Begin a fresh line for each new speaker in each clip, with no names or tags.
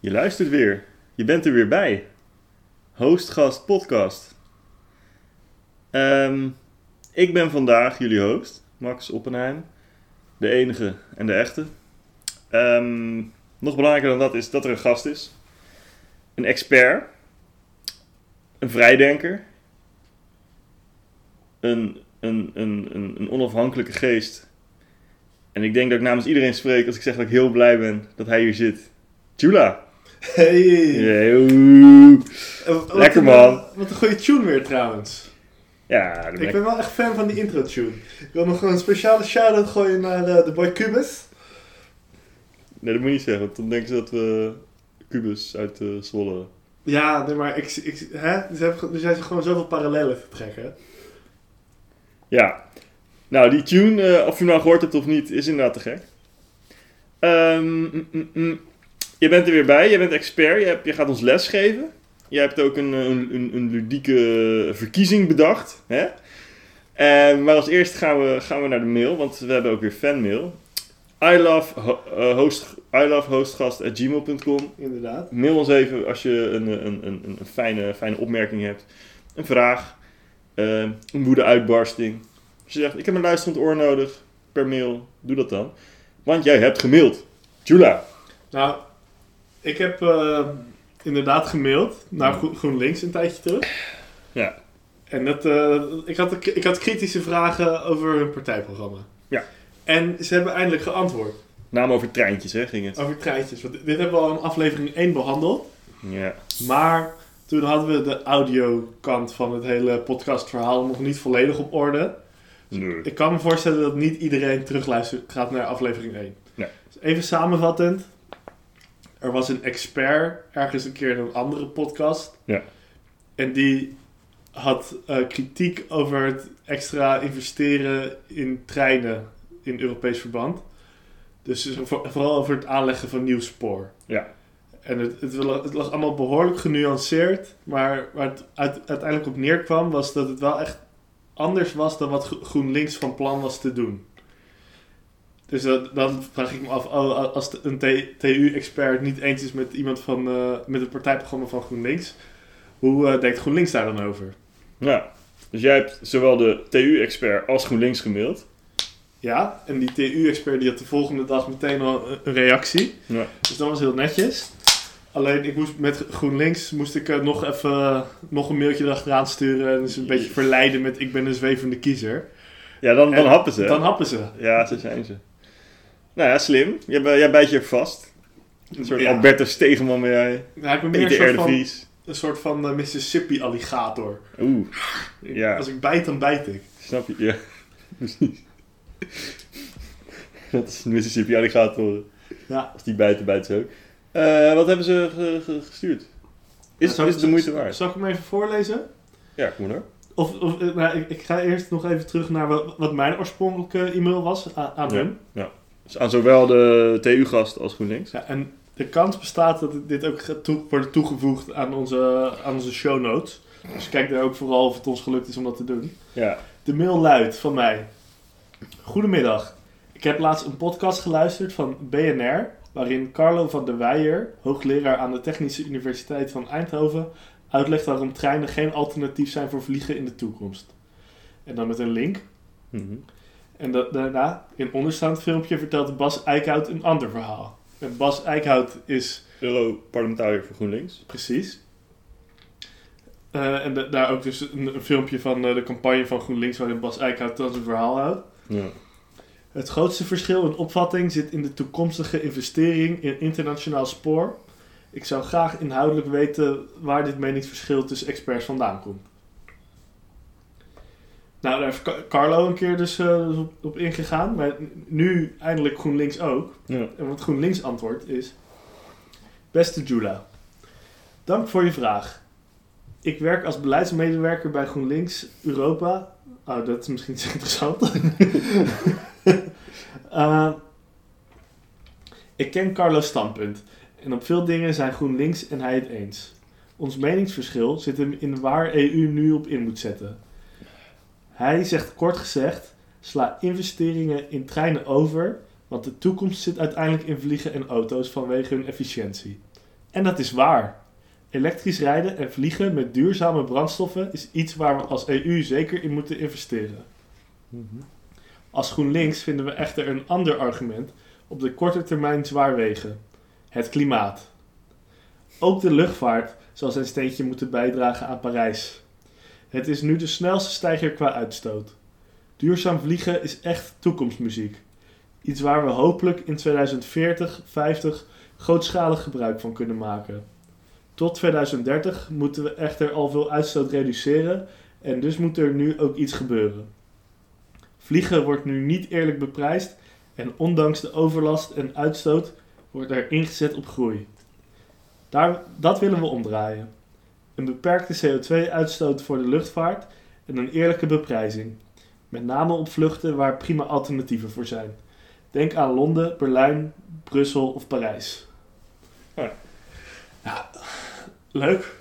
Je luistert weer. Je bent er weer bij. Hostgast podcast. Ehm, ik ben vandaag jullie host, Max Oppenheim. De enige en de echte. Ehm, nog belangrijker dan dat is dat er een gast is. Een expert. Een vrijdenker. Een, een, een, een, een onafhankelijke geest. En ik denk dat ik namens iedereen spreek als ik zeg dat ik heel blij ben dat hij hier zit. Tjula!
Hey.
Yo.
Eh, wat
Lekker,
een-
man.
Wat een goede tune weer trouwens.
Ja, dat ben
Ik
ik.
ben wel echt fan van die intro tune. Ik wil nog een speciale shout-out gooien naar eh, de boy Cubus.
Nee, dat moet je niet zeggen, want dan denken ze dat we Cubus uit eh, Zwolle.
Ja, nee, maar ik, ik, hè? Er, zijn, er zijn gewoon zoveel parallellen te trekken.
Ja. Nou, die tune, eh, of je hem nou gehoord hebt of niet, is inderdaad te gek. Ehm, mm, mm, mm. Je bent er weer bij, je bent expert, je, hebt, je gaat ons les geven. Je hebt ook een, eh, een, een, een ludieke verkiezing bedacht. Hè? Ehm, maar als eerst gaan we, gaan we naar de mail, want we hebben ook weer fanmail. I love, ho- eh, host, I love hostgast at gmail.com.
Inderdaad.
Mail ons even als je een, eh, een, een, een fijne, fijne opmerking hebt. Een vraag. eh, een woede-uitbarsting. Als je zegt, ik heb een luisterend oor nodig. Per mail. Doe dat dan. Want jij hebt gemaild. Jula.
Nou, ik heb eh, inderdaad gemaild naar Groen- GroenLinks een tijdje terug.
Ja.
En dat, eh, ik, had, ik had kritische vragen over hun partijprogramma.
Ja.
En ze hebben eindelijk geantwoord
Naam over treintjes, hè, ging het.
over treintjes. Want dit hebben we al in aflevering 1 behandeld.
Ja.
Maar toen hadden we de audiokant van het hele podcastverhaal nog niet volledig op orde.
Nee.
Ik kan me voorstellen dat niet iedereen terugluistert gaat naar aflevering 1.
Nee.
Dus even samenvattend. Er was een expert ergens een keer in een andere podcast.
Ja.
En die had eh, kritiek over het extra investeren in treinen in Europees verband. Dus voor- vooral over het aanleggen van nieuw spoor.
Ja.
En het, het, lag, het lag allemaal behoorlijk genuanceerd. Maar waar het uit- uiteindelijk op neerkwam was dat het wel echt anders was dan wat Gro- GroenLinks van plan was te doen. Dus dat, dan vraag ik me af, oh, als de- een T- TU-expert niet eens is met iemand van eh, met het partijprogramma van GroenLinks, hoe eh, denkt GroenLinks daar dan over?
Ja. Dus jij hebt zowel de TU-expert als GroenLinks gemaild.
Ja, en die TU-expert die had de volgende dag meteen al een- een reactie.
Ja.
Dus dat was heel netjes. Alleen ik moest met GroenLinks moest ik eh, nog even eh, nog een mailtje erachteraan sturen. En dus een beetje verleiden met ik ben een zwevende kiezer.
Ja, dan, dan
En
happen ze. hè?
Dan happen ze.
Ja, zo zijn ze. Nou ja, slim. Jij, bij- jij bijt je vast. Een soort
Ja.
Albertus Stegeman ben jij.
Ja, ik ben meer een
Peter
soort,
R. de
van,
Vries.
een soort van eh, Mississippi-alligator.
Oeh. Ja.
Als ik bijt, dan bijt ik.
Snap je? Ja, precies. Dat is Mississippi alligator.
Ja.
Als die bijten, bijten ze ook. Eh, wat hebben ze ge- ge- gestuurd? Is,
Nou, Zal ik-
is het de moeite waard?
Zal ik hem even voorlezen?
Ja, kom maar. door.
Of, of eh, nou, ik, ik ga eerst nog even terug naar wat, wat mijn oorspronkelijke e-mail was aan, aan hem.
Dus aan zowel de TU-gast als GroenLinks.
Ja, en de kans bestaat dat dit ook gaat toe- wordt toegevoegd aan onze, aan onze show notes. Dus kijk daar ook vooral of het ons gelukt is om dat te doen.
Ja.
De mail luidt van mij. Goedemiddag. Ik heb laatst een podcast geluisterd van BNR, waarin Carlo van der Weijer, hoogleraar aan de Technische Universiteit van Eindhoven, uitlegt waarom treinen geen alternatief zijn voor vliegen in de toekomst. En dan met een link.
Mhm.
En da- daarna, in onderstaand filmpje, vertelt Bas Eickhout een ander verhaal. En Bas Eickhout is
Europarlementariër voor GroenLinks.
Precies. Eh, en da- daar ook dus een, een filmpje van eh, de campagne van GroenLinks waarin Bas Eickhout dan zijn verhaal houdt.
Ja.
Het grootste verschil in opvatting zit in de toekomstige investering in internationaal spoor. Ik zou graag inhoudelijk weten waar dit meningsverschil tussen experts vandaan komt. Nou, daar heeft Ca- Carlo een keer dus eh, op, op ingegaan, maar nu eindelijk GroenLinks ook.
Ja.
En wat GroenLinks antwoord is... Beste Jula, dank voor je vraag. Ik werk als beleidsmedewerker bij GroenLinks Europa. Oh, dat is misschien niet zo interessant. Eh, ik ken Carlo's standpunt. En op veel dingen zijn GroenLinks en hij het eens. Ons meningsverschil zit hem in waar EU nu op in moet zetten. Hij zegt kort gezegd: sla investeringen in treinen over want de toekomst zit uiteindelijk in vliegen en auto's vanwege hun efficiëntie. En dat is waar. Elektrisch rijden en vliegen met duurzame brandstoffen is iets waar we als EU zeker in moeten investeren.
Mhm.
Als GroenLinks vinden we echter een ander argument op de korte termijn zwaar wegen: het klimaat. Ook de luchtvaart zal zijn steentje moeten bijdragen aan Parijs. Het is nu de snelste stijger qua uitstoot. Duurzaam vliegen is echt toekomstmuziek. Iets waar we hopelijk in 2040, 50 grootschalig gebruik van kunnen maken. Tot 2030 moeten we echter al veel uitstoot reduceren en dus moet er nu ook iets gebeuren. Vliegen wordt nu niet eerlijk beprijsd en ondanks de overlast en uitstoot wordt er ingezet op groei. Daar, dat willen we omdraaien. Een beperkte CO2-uitstoot voor de luchtvaart en een eerlijke beprijzing. Met name op vluchten waar prima alternatieven voor zijn. Denk aan Londen, Berlijn, Brussel of Parijs.
Ja.
Ja, leuk.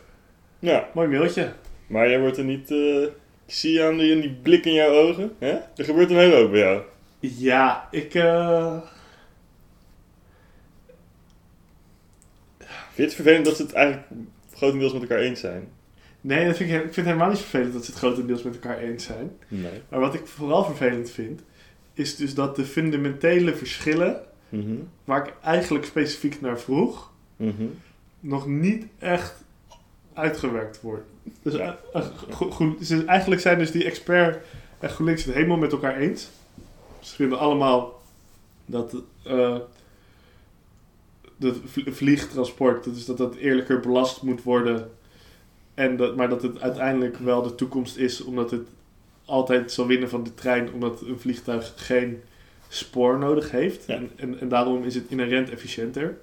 Ja,
Mooi mailtje.
maar jij wordt er niet... eh, ik zie aan die, aan die blik in jouw ogen. Hè? Er gebeurt een hele hoop bij jou.
Ja, ik... eh,
Vind je het vervelend dat ze het eigenlijk grotendeels met elkaar eens zijn?
Nee, dat vind ik, he- ik vind het helemaal niet vervelend dat ze het grotendeels met elkaar eens zijn.
Nee.
Maar wat ik vooral vervelend vind, is dus dat de fundamentele verschillen,
Mhm.
waar ik eigenlijk specifiek naar vroeg,
Mhm.
nog niet echt uitgewerkt wordt. Dus,
Ja.
eh, eh, go- goed, dus eigenlijk zijn dus die expert en GroenLinks het helemaal met elkaar eens. Ze vinden allemaal dat eh dat vlie- vliegtransport, dat, is dat dat eerlijker belast moet worden. En dat, maar dat het uiteindelijk wel de toekomst is, omdat het altijd zal winnen van de trein, omdat een vliegtuig geen spoor nodig heeft.
Ja.
En, en, en daarom is het inherent efficiënter.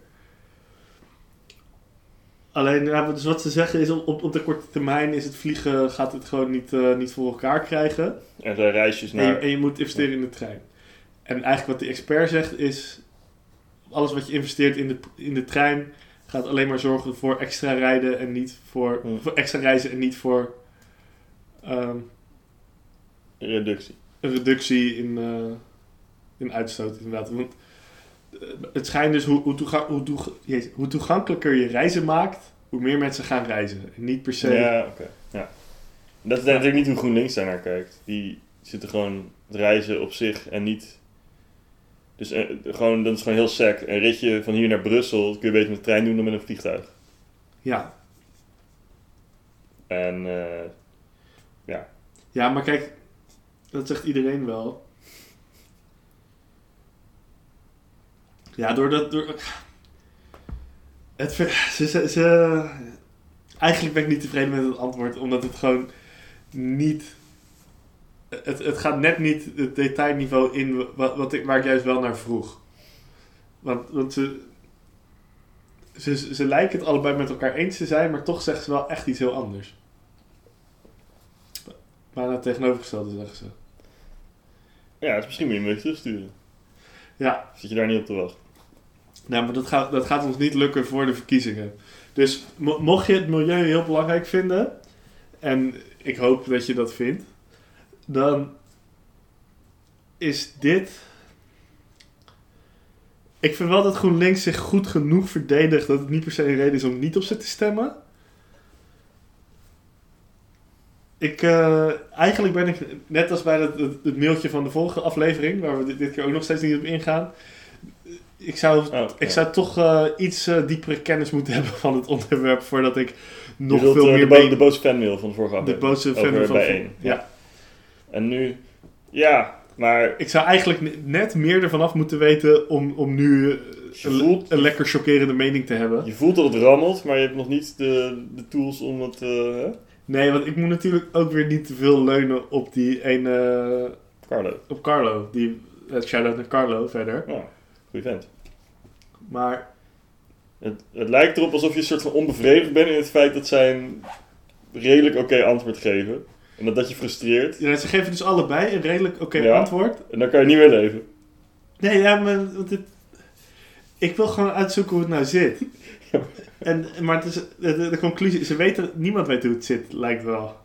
Alleen, ja, dus wat ze zeggen is, op, op- op de korte termijn is het vliegen, gaat het gewoon niet, eh, niet voor elkaar krijgen.
En de reisjes
En, je,
naar...
en je moet investeren in de trein. En eigenlijk wat de expert zegt is, alles wat je investeert in de, in de trein gaat alleen maar zorgen voor extra rijden en niet voor,
Hmm.
voor extra reizen en niet voor ehm,
Reductie.
een reductie in, eh, in uitstoot inderdaad. Want eh, het schijnt dus hoe, hoe, toega- hoe, toeg- jezus, hoe toegankelijker je reizen maakt, hoe meer mensen gaan reizen. En niet per se.
Ja, oké. Ja. Dat is natuurlijk niet hoe GroenLinks daar naar kijkt. Die zitten gewoon het reizen op zich en niet... Dus eh, gewoon, dat is gewoon heel sec. Een ritje van hier naar Brussel dat kun je beter met de trein doen dan met een vliegtuig.
ja,
En eh,
Ja, maar kijk, dat zegt iedereen wel. Ja, doordat. Door... Het, ver- ze, ze, ze- Eigenlijk ben ik niet tevreden met het antwoord, omdat het gewoon niet. Het, het gaat net niet het detailniveau in wat, wat ik, waar ik juist wel naar vroeg. Want, want ze, ze, ze ze lijken het allebei met elkaar eens te zijn, maar toch zeggen ze wel echt iets heel anders. Bijna het tegenovergestelde zeggen ze.
ja, dus misschien moet je hem weer terugsturen.
Ja.
Zit je daar niet op te wachten.
Nou, maar dat gaat, dat gaat ons niet lukken voor de verkiezingen. Dus mo- mocht je het milieu heel belangrijk vinden, en ik hoop dat je dat vindt, dan is dit. Ik vind wel dat GroenLinks zich goed genoeg verdedigt dat het niet per se een reden is om niet op ze te stemmen. Ik, eh, eigenlijk ben ik, net als bij dat, het, het mailtje van de vorige aflevering, waar we dit, dit keer ook nog steeds niet op ingaan. Ik zou
Oh,
ik
ja.
zou toch eh, iets eh, diepere kennis moeten hebben van het onderwerp voordat ik nog
Je wilt,
veel
eh,
meer
de, bo
mee...
de boze fanmail van de vorige
de
aflevering.
boze fan
over
van...
bijeen,
ja.
ja. En nu... Ja, maar
Ik zou eigenlijk ne- net meer ervan af moeten weten om, om nu eh,
Je
een, le-
voelt-
een lekker chockerende mening te hebben.
je voelt dat het rammelt, maar je hebt nog niet de, de tools om het... eh
Nee, want ik moet natuurlijk ook weer niet te veel leunen op die ene... eh,
Carlo.
Op Carlo. Die, eh, shout-out naar Carlo verder.
Ja, goeie vent.
Maar
Het, het lijkt erop alsof je een soort van onbevredigd bent in het feit dat zij een redelijk oké antwoord geven. En dat dat je frustreert.
ja, ze geven dus allebei een redelijk oké
Ja.
antwoord.
En dan kan je niet meer leven.
Nee, ja, maar want het- ik wil gewoon uitzoeken hoe het nou zit.
Ja.
En, maar het is, de, de- de conclusie, ze weten, niemand weet hoe het zit, lijkt wel.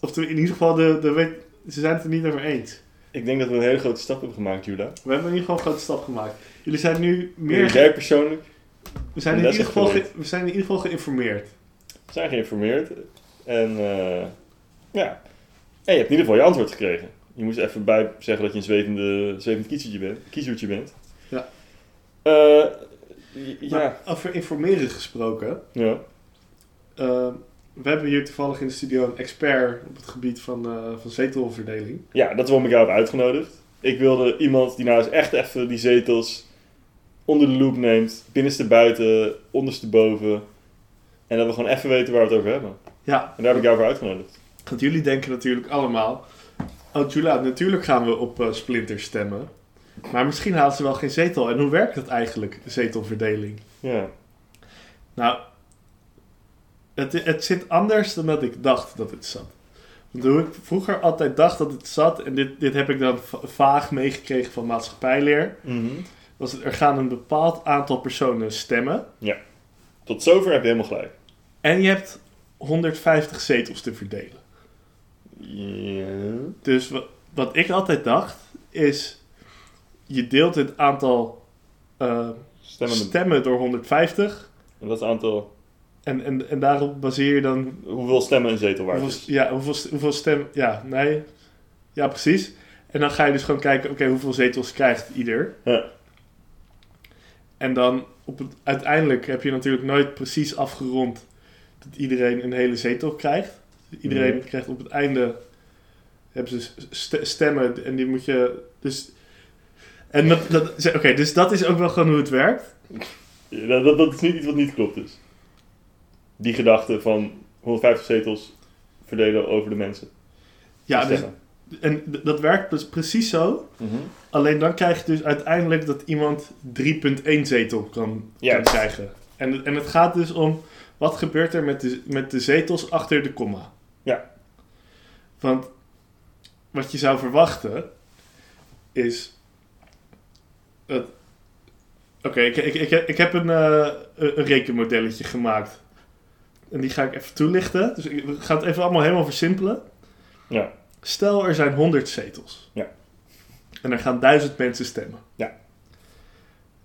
Of te- in ieder geval, de, de weet, ze zijn het er niet over eens.
Ik denk dat we een hele grote stap hebben gemaakt, Jula.
We hebben in ieder geval een grote stap gemaakt. Jullie zijn nu meer...
Jij persoonlijk.
We zijn, in
Les
ieder geval
geïnformeerd.
ge- we zijn in ieder geval geïnformeerd.
We zijn geïnformeerd. En eh, ja. En je hebt in ieder geval je antwoord gekregen. Je moest er even bij zeggen dat je een zwevende, zwevend kiezertje bent. Kiezertje bent.
Ja.
Eh, j- ja.
Maar over informeren gesproken.
ja.
eh, we hebben hier toevallig in de studio een expert op het gebied van, eh, van zetelverdeling.
Ja, dat is waarom ik jou heb uitgenodigd. Ik wilde iemand die nou eens echt even die zetels onder de loep neemt. Binnenste buiten, onderste boven. En dat we gewoon even weten waar we het over hebben.
Ja,
En daar heb ik jou voor uitgenodigd.
want jullie denken natuurlijk allemaal... Oh Jula, natuurlijk gaan we op eh, Splinter stemmen. Maar misschien haalt ze wel geen zetel. En hoe werkt dat eigenlijk, zetelverdeling?
Ja.
Nou, het, het zit anders dan dat ik dacht dat het zat. Want hoe ik vroeger altijd dacht dat het zat, en dit, dit heb ik dan va- vaag meegekregen van maatschappijleer, was het er gaan een bepaald aantal personen stemmen.
Tot zover heb je helemaal gelijk.
En je hebt 150 zetels te verdelen.
Ja.
Dus wa- wat ik altijd dacht, is je deelt het aantal eh,
Stemmen.
stemmen door 150.
En dat aantal.
En, en, en daarop baseer je dan
Hoeveel stemmen een zetel waard
Hoeveel,
is.
ja, hoeveel, st- hoeveel stem... Ja, nee. Ja, precies. En dan ga je dus gewoon kijken, oké, hoeveel zetels krijgt ieder.
Ja.
En dan op het, uiteindelijk heb je natuurlijk nooit precies afgerond dat iedereen een hele zetel krijgt. Iedereen
Nee.
krijgt op het einde... Hebben ze s- st- stemmen en die moet je... Dus, en dat, dat, oké, dus dat is ook wel gewoon hoe het werkt.
Ja, Dat, dat, dat is niet iets wat niet klopt is. Die gedachte van 150 zetels verdelen over de mensen.
Ja,
Die
dus,
stemmen.
en d- dat werkt dus precies zo.
Mhm.
Alleen dan krijg je dus uiteindelijk dat iemand 3.1 zetel kan, kan
Juist.
krijgen. En, en het gaat dus om wat gebeurt er met de, met de zetels achter de komma.
Ja.
Want wat je zou verwachten is. het- Oké, ik, ik, ik, heb- ik heb een, eh, een een rekenmodelletje gemaakt. En die ga ik even toelichten. Dus ik we gaan het even allemaal helemaal versimpelen.
Ja.
Stel, er zijn 100 zetels.
Ja.
En er gaan 1000 mensen stemmen.
Ja.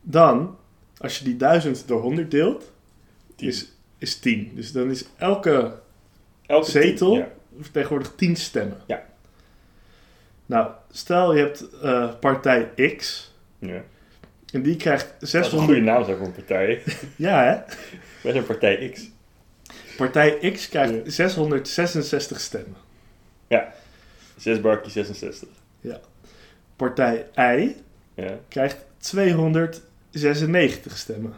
Dan, als je die 1000 door 100 deelt,
Tien.
is, is 10. Dus dan is elke
Elke
Zetel?
Ja.
vertegenwoordigt 10 stemmen.
Ja.
Nou, stel je hebt eh, partij X.
ja.
En die krijgt
Dat is een
600...
goede naam zijn voor een partij.
Ja, hè?
Wij zijn partij X.
Partij X krijgt
Ja.
666 stemmen.
6 barkie 66.
Partij Y
Ja.
krijgt 296 stemmen.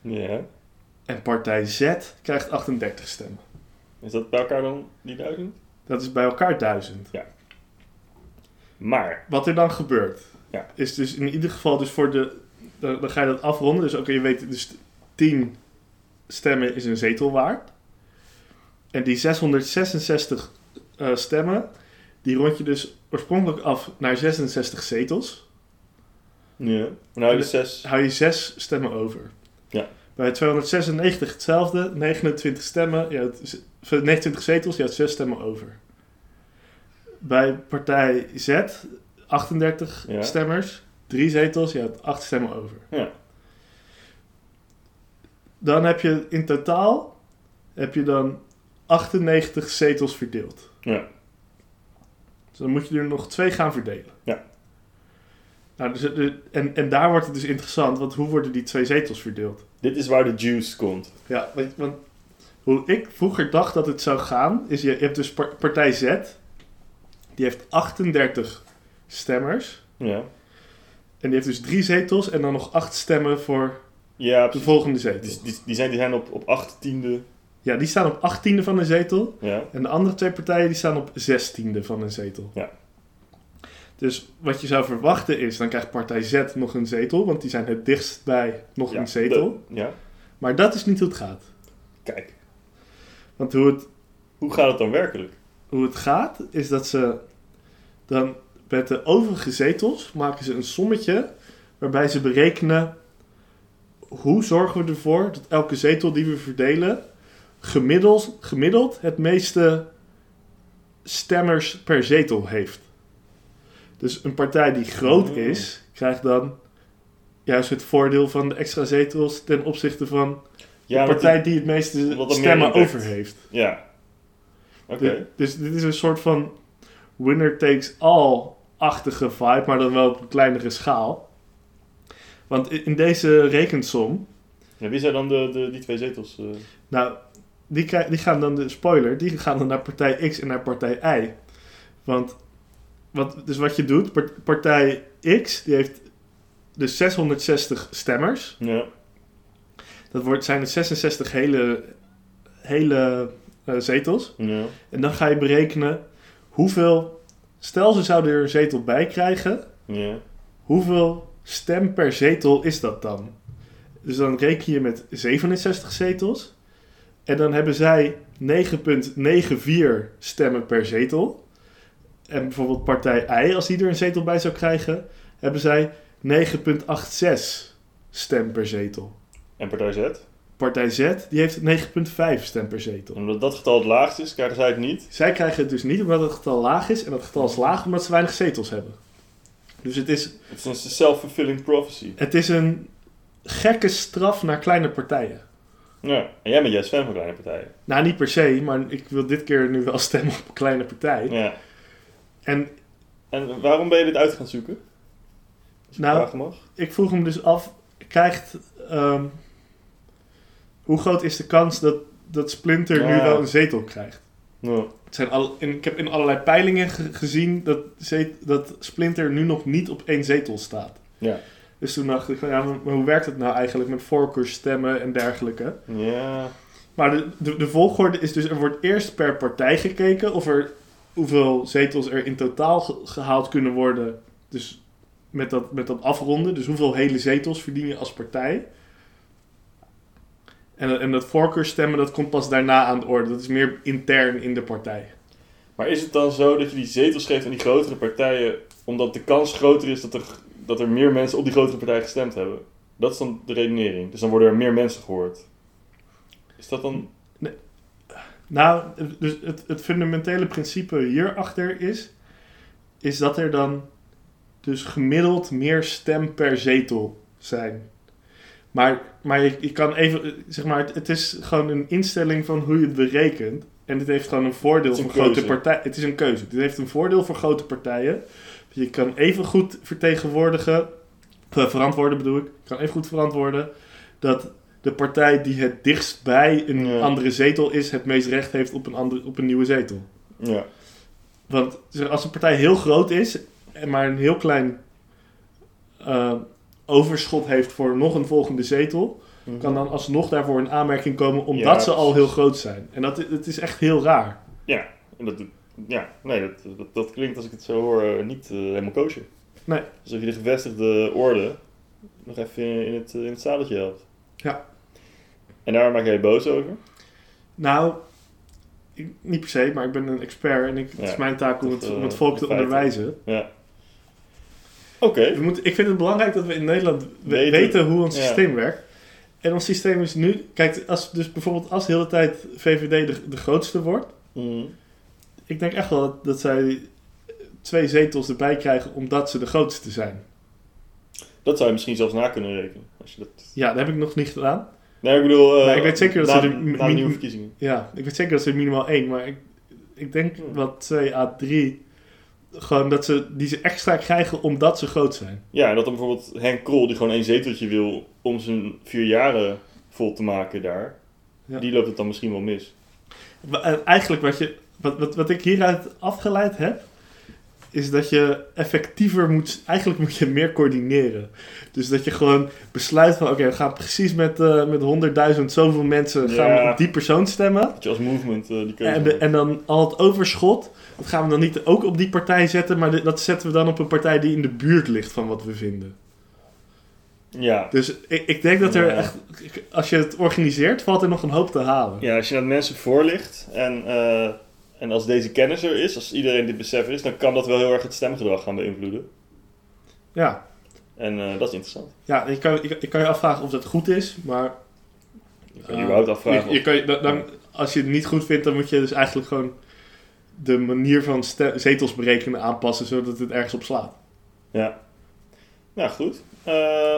ja.
En partij Z krijgt 38 stemmen.
Is dat bij elkaar dan die duizend?
Dat is bij elkaar 1000.
Maar.
Wat er dan gebeurt,
Ja.
is dus in ieder geval dus voor de... Dan, dan ga je dat afronden. Dus oké, je weet dus 10 stemmen is een zetel waard. En die 666 eh, stemmen, die rond je dus oorspronkelijk af naar 66 zetels.
Ja. Nou, de 6.
hou je 6 stemmen over.
Ja.
Bij 296 hetzelfde, 29 stemmen, je houdt z- of 29 zetels, je houdt 6 stemmen over. Bij partij Z, 38
Ja.
stemmers, 3 zetels, je houdt 8 stemmen over.
Ja.
Dan heb je in totaal heb je dan 98 zetels verdeeld.
Ja.
Dus dan moet je er nog twee gaan verdelen.
Ja.
Nou, dus, eh, en, en daar wordt het dus interessant, want hoe worden die twee zetels verdeeld?
Dit is waar de juice komt.
Ja, want, want hoe ik vroeger dacht dat het zou gaan, is je, je hebt dus par- partij Z, die heeft 38 stemmers.
Ja.
En die heeft dus drie zetels en dan nog acht stemmen voor
Ja,
de
precies.
volgende zetel.
Die, die, die zijn, die zijn op, op 8 tiende.
Ja, die staan op achttiende van een zetel.
Ja.
En de andere twee partijen die staan op zestiende van een zetel.
Ja.
Dus wat je zou verwachten is, dan krijgt partij Z nog een zetel, want die zijn het dichtst bij nog
ja.
een zetel.
De- ja.
Maar dat is niet hoe het gaat.
Kijk,
Want hoe het,
hoe gaat het dan werkelijk?
hoe het gaat, is dat ze dan met de overige zetels maken ze een sommetje waarbij ze berekenen hoe zorgen we ervoor dat elke zetel die we verdelen gemiddeld, gemiddeld het meeste stemmers per zetel heeft. Dus een partij die groot
Oh.
is, krijgt dan juist het voordeel van de extra zetels ten opzichte van
Ja,
de
want
partij die het meeste
wat dan meer
stemmen
impact.
over heeft.
die- Ja. Oké.
Dit- Dus dit is een soort van winner takes all-achtige vibe, maar dan wel op een kleinere schaal. Want i- in deze rekensom,
Ja, wie zijn dan de, de, die twee zetels? eh?
nou, die, krij- die gaan dan, de spoiler, die gaan dan naar partij X en naar partij Y. Want, wat, dus wat je doet, part- partij X, die heeft dus 660 stemmers.
Ja.
Dat wordt, zijn er 66 hele, hele eh, zetels.
ja.
En dan ga je berekenen hoeveel, stel ze zouden er een zetel bij krijgen,
Ja.
hoeveel stem per zetel is dat dan? Dus dan reken je met 67 zetels. En dan hebben zij 9,94 stemmen per zetel. En bijvoorbeeld partij I, als die er een zetel bij zou krijgen, hebben zij 9,86 stem per zetel.
En partij Z.
Partij Z, die heeft 9,5 stem per zetel.
En omdat dat getal het laagst is, krijgen zij het niet.
Zij krijgen het dus niet omdat het getal laag is. En dat getal is laag omdat ze weinig zetels hebben. Dus het is,
Het is een self-fulfilling prophecy.
het is een gekke straf naar kleine partijen.
Ja. En jij bent juist fan van kleine partijen.
Nou, niet per se, maar ik wil dit keer nu wel stemmen op een kleine partij.
Ja.
En
En waarom ben je dit uit gaan zoeken? Als ik
Nou,
vragen mag.
ik vroeg hem dus af, krijgt... ehm, hoe groot is de kans dat, dat Splinter nu
Ja.
wel een zetel krijgt?
Ja.
Het zijn al, en ik heb in allerlei peilingen ge- gezien dat, zet- dat Splinter nu nog niet op één zetel staat.
Ja.
Dus toen dacht ik, van, ja, maar maar hoe werkt het nou eigenlijk met voorkeursstemmen en dergelijke?
Ja.
Maar de, de, de volgorde is dus, er wordt eerst per partij gekeken of er, hoeveel zetels er in totaal ge- gehaald kunnen worden. Dus met dat, met dat afronden, dus hoeveel hele zetels verdien je als partij. En, en dat voorkeursstemmen, dat komt pas daarna aan de orde. Dat is meer intern in de partij.
Maar is het dan zo dat je die zetels geeft aan die grotere partijen, omdat de kans groter is dat er, dat er meer mensen op die grotere partij gestemd hebben? Dat is dan de redenering. Dus dan worden er meer mensen gehoord. Is dat dan...
Nou, dus het, het fundamentele principe hierachter is, is dat er dan dus gemiddeld meer stem per zetel zijn. Maar, maar je, je kan even, eh, zeg maar, het, het is gewoon een instelling van hoe je het berekent. En dit heeft gewoon een voordeel
Het is een
voor grote
keuze.
partijen. Het is een keuze. Dit heeft een voordeel voor grote partijen. Je kan even goed vertegenwoordigen, eh, verantwoorden bedoel ik, Je kan even goed verantwoorden dat de partij die het dichtst bij een
Ja.
andere zetel is, het meest recht heeft op een, andere, op een nieuwe zetel.
Ja.
Want zeg, als een partij heel groot is, en maar een heel klein eh, overschot heeft voor nog een volgende zetel, kan dan alsnog daarvoor een aanmerking komen omdat
Ja,
ze al heel groot zijn. En dat, dat is echt heel raar.
En dat, doet- ja, nee, dat, dat, dat klinkt als ik het zo hoor eh, niet eh, helemaal koosje.
Nee.
Alsof je de gevestigde orde nog even in, in het, eh, in het zadeltje helpt.
Ja.
En daar maak jij je boos over?
Nou, ik- niet per se, maar ik ben een expert en ik, het
Ja,
is mijn taak om
dat,
het, om het
eh,
volk
de
te
feiten.
onderwijzen.
Oké.
We moeten, ik vind het belangrijk dat we in Nederland we-
Weten.
weten, hoe ons
Ja.
systeem werkt. En ons systeem is nu... Kijk, als, dus bijvoorbeeld als de hele tijd VVD de, de grootste wordt...
Mhm.
Ik denk echt wel dat, dat zij twee zetels erbij krijgen omdat ze de grootste zijn.
Dat zou je misschien zelfs na kunnen rekenen. Als je dat...
Ja, dat heb ik nog niet gedaan.
Nee, ik bedoel... eh,
Maar ik weet zeker dat
na,
ze de-
na de
min-
nieuwe verkiezingen.
Ja, ik weet zeker dat ze minimaal één, maar ik, ik denk
Hmm.
wat twee à drie... Gewoon dat ze die ze extra krijgen omdat ze groot zijn.
Ja, en dat dan bijvoorbeeld Henk Krol, die gewoon één zeteltje wil om zijn vier jaren vol te maken daar,
Ja.
die loopt het dan misschien wel mis.
Wa- en Eigenlijk wat, je, wat, wat, wat ik hieruit afgeleid heb, is dat je effectiever moet, eigenlijk moet je meer coördineren. Dus dat je gewoon besluit van, oké, we gaan precies met, eh met 100.000 zoveel mensen gaan
Ja.
we op die persoon stemmen.
Dat je als movement eh, die keuze
En, de-
maakt.
en dan al het overschot, dat gaan we dan niet ook op die partij zetten, maar dit- dat zetten we dan op een partij die in de buurt ligt van wat we vinden.
Ja.
Dus ik, ik denk dat er
Ja.
echt, als je het organiseert, valt er nog een hoop te halen.
ja, als je dat mensen voorlicht en, eh, en als deze kennis er is, als iedereen dit besef is, dan kan dat wel heel erg het stemgedrag gaan beïnvloeden.
ja.
En eh, dat is interessant.
Ja, ik kan, ik, ik kan je afvragen of dat goed is, maar...
Je kan je
eh,
überhaupt afvragen.
Je, je kan, je- dan, dan- als je het niet goed vindt, dan moet je dus eigenlijk gewoon de manier van ste- zetels berekenen aanpassen, zodat het ergens op slaat.
Nou, goed. Eh,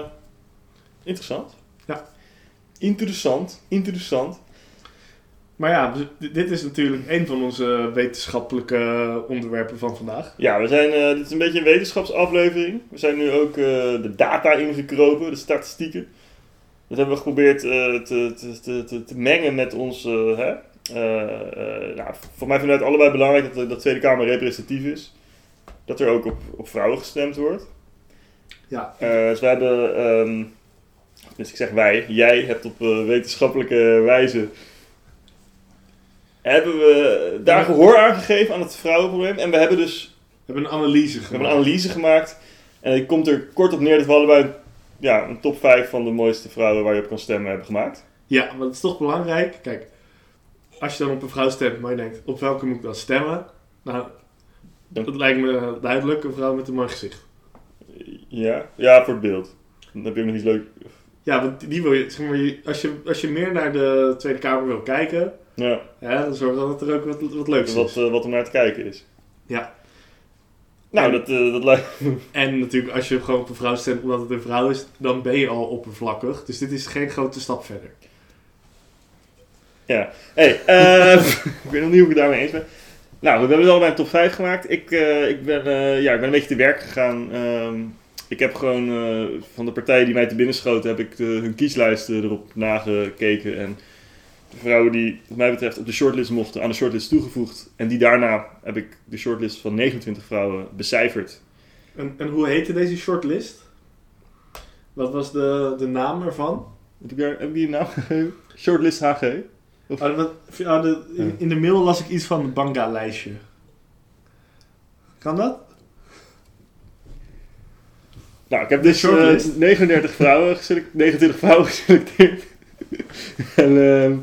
Interessant.
Ja.
Interessant, interessant.
Maar ja, d- dit is natuurlijk een van onze wetenschappelijke onderwerpen van vandaag.
Ja, we zijn, eh, dit is een beetje een wetenschapsaflevering. We zijn nu ook eh, de data ingekropen, de statistieken. Dat hebben we geprobeerd eh, te, te, te, te, te mengen met ons. eh, hè? eh, eh, nou, voor mij vanuit allebei belangrijk dat de dat Tweede Kamer representatief is. Dat er ook op, op vrouwen gestemd wordt.
Ja,
Eh, dus wij hebben, ehm, dus ik zeg wij, jij hebt op eh, wetenschappelijke wijze. Hebben we daar gehoor aan gegeven aan het vrouwenprobleem. En we hebben dus
we hebben een
we
analyse
hebben
gemaakt.
een analyse gemaakt. En het komt er kort op neer dat we allebei een- ja, een top 5 van de mooiste vrouwen waar je op kan stemmen hebben gemaakt.
Ja, want het is toch belangrijk. Kijk, als je dan op een vrouw stemt, maar je denkt, op welke moet ik dan stemmen? Nou,
Dan-
dat lijkt me duidelijk, een vrouw met een mooi gezicht.
Ja, ja voor het beeld. Dan heb je ook nog iets leuk.
Ja, want die wil je, zeg maar, je- als je, als je meer naar de Tweede Kamer wil kijken,
Ja,
hè, dan zorg dan dat er ook wat, wat leuks
wat,
is.
eh, wat er naar te kijken is.
Ja.
Nou,
En-
dat, eh, dat lijkt.
En natuurlijk, als je gewoon op een vrouw stemt omdat het een vrouw is, dan ben je al oppervlakkig. Dus dit is geen grote stap verder.
Hey, eh, ik weet nog niet hoe ik het daarmee eens ben. Nou, we hebben dus allebei een top 5 gemaakt. Ik, eh, ik, ben, eh, ja, ik ben een beetje te werk gegaan. Ehm, ik heb gewoon eh, van de partijen die mij te binnen schoten, heb ik de, hun kieslijsten erop nagekeken. En de vrouwen die, wat mij betreft, op de shortlist mochten, aan de shortlist toegevoegd. En die daarna heb ik de shortlist van 29 vrouwen becijferd.
En, en hoe heette deze shortlist? Wat was de, de naam ervan?
Heb ik, daar, heb ik die een naam gegeven? Shortlist HG.
Oh, wat- oh, de- in, in de mail las ik iets van een banga-lijstje. Kan dat?
Nou, ik heb dus
shortlist.
eh, 39 vrouwen geselecteerd, 29 vrouwen geselecteerd. en ehm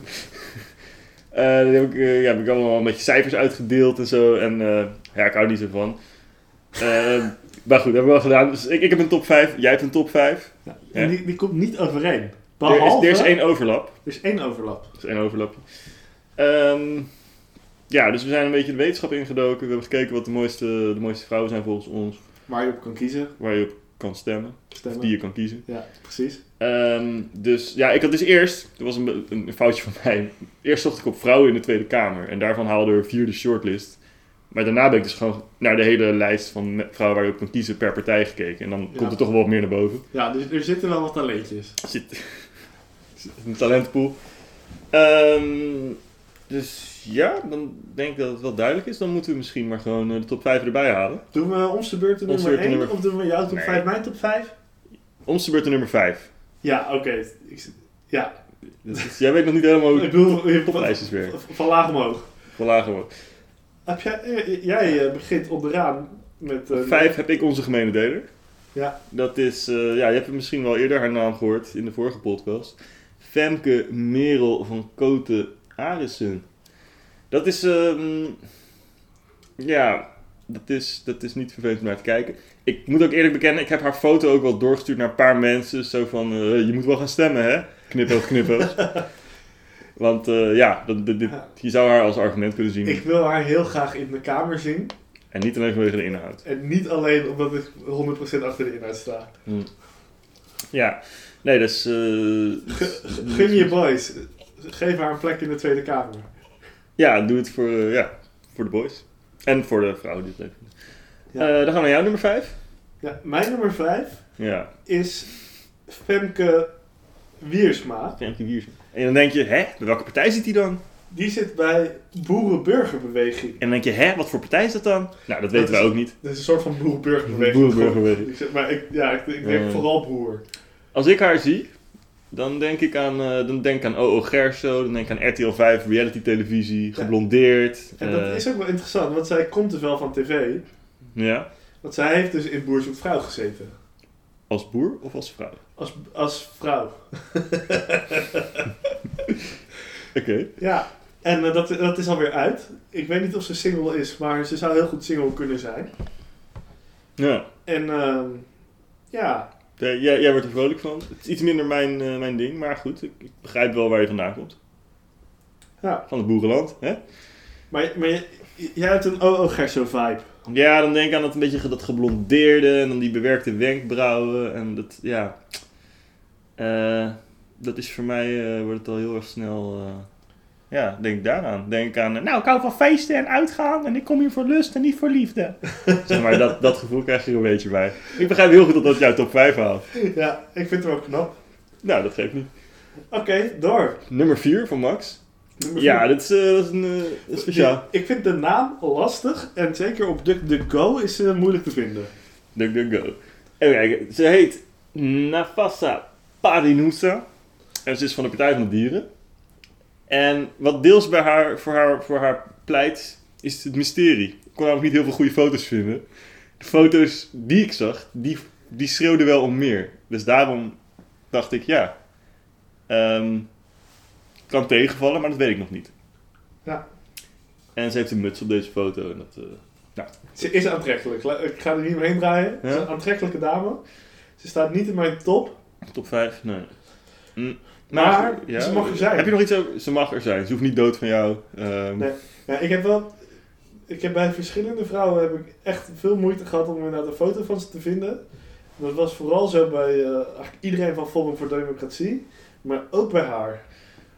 eh, die heb ik, eh, ja, heb ik allemaal met cijfers uitgedeeld en zo. En eh, ja, ik hou niet zo van. Ehm, maar goed, dat hebben we wel gedaan. Dus ik, ik heb een top 5, jij hebt een top 5. Ja.
En die, die komt niet overeen.
Er is,
Behalve,
er is één overlap.
overlap.
Er is één overlapje. Ehm, ja, dus we zijn een beetje de wetenschap ingedoken. We hebben gekeken wat de mooiste, de mooiste vrouwen zijn volgens ons.
Waar je op kan kiezen.
Waar je op kan stemmen. Of
Stemmen.
die je kan kiezen.
Ja, precies.
Ehm, dus ja, ik had dus eerst, dat was een, be- een foutje van mij. Eerst zocht ik op vrouwen in de Tweede Kamer en daarvan haalde er vier de shortlist. Maar daarna ben ik dus gewoon naar de hele lijst van me- vrouwen waar je op kan kiezen per partij gekeken. En dan
Ja.
komt er toch wel wat meer naar boven.
Ja, dus er zitten wel wat talentjes.
Er Zit, er zit een talentpool. Ehm, dus ja, dan denk ik dat het wel duidelijk is. Dan moeten we misschien maar gewoon eh, de top 5 erbij halen.
Doen we onze beurt de
Onze beurt
nummer
de
1
nummer-
of doen we jouw top
Nee.
5, mijn top 5?
Ons de beurt de nummer 5.
Ja, oké. Ik z- Ja,
jij weet nog niet helemaal
ik
hoe
bedoel, je-
de lijstjes werken.
van, van laag omhoog.
Van lager wordt.
Heb jij, eh, jij eh, begint onderaan met... eh,
Op vijf heb ik onze gemene deler.
Ja.
Dat is, eh, ja, je hebt hem misschien wel eerder haar naam gehoord in de vorige podcast. Femke Merel van Koten Arissen. Dat is, ehm, ja, dat is, dat is niet vervelend om naar te kijken. Ik moet ook eerlijk bekennen, ik heb haar foto ook wel doorgestuurd naar een paar mensen. Zo van, eh, je moet wel gaan stemmen, hè? Knipoog, knipoog. Want eh, ja, dat, dit, dit- je zou haar als argument kunnen zien.
Ik wil haar heel graag in de kamer zien.
En niet alleen vanwege de inhoud.
En niet alleen omdat ik 100% achter de inhoud sta.
Ja, nee, dat is. eh, dus-
Gun je boys. Geef haar een plek in de Tweede Kamer.
Ja, doe het voor, eh, ja, voor de boys. En voor de vrouwen die het leuk vinden.
Ja.
Eh, dan gaan we naar jou, nummer 5.
Ja, mijn nummer 5
Ja,
is Femke Wiersma.
Femke Wiersma. En dan denk je, hè, bij welke partij zit die dan? En
Die zit bij Boerenburgerbeweging.
dan denk je, hè, wat voor partij is dat dan? Nou, dat weten
is-
wij ook niet.
Dat is een soort van boerenburgerbeweging.
Boerenburgerbeweging.
Ik zeg, maar ik, ja, ik, ik denk
Eh.
vooral boer.
Als ik haar zie, dan denk ik aan, eh, dan denk ik aan OO Gerso, dan denk ik aan RTL 5, reality televisie, geblondeerd.
En dat
eh,
is ook wel interessant, want zij komt dus wel van tv.
Ja,
Want zij heeft dus in Boer zoekt vrouw gezeten.
als boer of als vrouw?
Als, als vrouw.
Oké.
Ja, en eh, dat, dat is alweer uit. Ik weet niet of ze single is, maar ze zou heel goed single kunnen zijn.
Ja.
En ehm, ja,
Eh, jij, jij wordt er vrolijk van. Het is iets minder mijn, eh, mijn ding, maar goed, ik, ik begrijp wel waar je vandaan komt.
Ja.
Van het boerenland, hè?
maar, maar j- jij hebt een OO Gerso vibe.
Ja, dan denk ik aan dat een beetje ge- dat geblondeerde en dan die bewerkte wenkbrauwen en dat, ja. Eh, dat is voor mij, eh, wordt het al heel erg snel... eh, ja, denk daaraan. Denk aan, eh, nou, ik hou van feesten en uitgaan en ik kom hier voor lust en niet voor liefde. zeg maar, dat, dat gevoel krijg je er een beetje bij. Ik begrijp heel goed dat dat jouw top 5 haalt.
Ja, ik vind het wel knap.
Nou, dat geeft niet.
Oké, door.
Nummer 4 van Max.
Nummer
Ja,
vier.
dat is, eh, dat is een eh, speciaal.
Ik vind de naam lastig en zeker op DuckDuckGo is ze moeilijk te vinden.
Duck, duck, go. Even kijken. Ze heet Nafasa Parinusa. En ze is van de Partij van de Dieren. En wat deels bij haar, voor, haar, voor haar pleit, is het mysterie. Ik kon namelijk niet heel veel goede foto's vinden. De foto's die ik zag, die, die schreeuwden wel om meer. Dus daarom dacht ik, ja, ehm, kan tegenvallen, maar dat weet ik nog niet.
Ja.
En ze heeft een muts op deze foto. En dat, eh,
Ze is aantrekkelijk. La- Ik ga er niet omheen draaien. Ze is
Ja.
een aantrekkelijke dame. Ze staat niet in mijn top.
Top 5? Nee. Mm,
Maar ze mag er zijn.
Heb je nog iets over? Ze mag er zijn. Ze hoeft niet dood van jou. Ehm,
Nee. Ja, ik heb wel... Ik heb bij verschillende vrouwen heb ik echt veel moeite gehad om inderdaad een foto van ze te vinden. Dat was vooral zo bij eh, eigenlijk iedereen van Forum voor Democratie. Maar ook bij haar.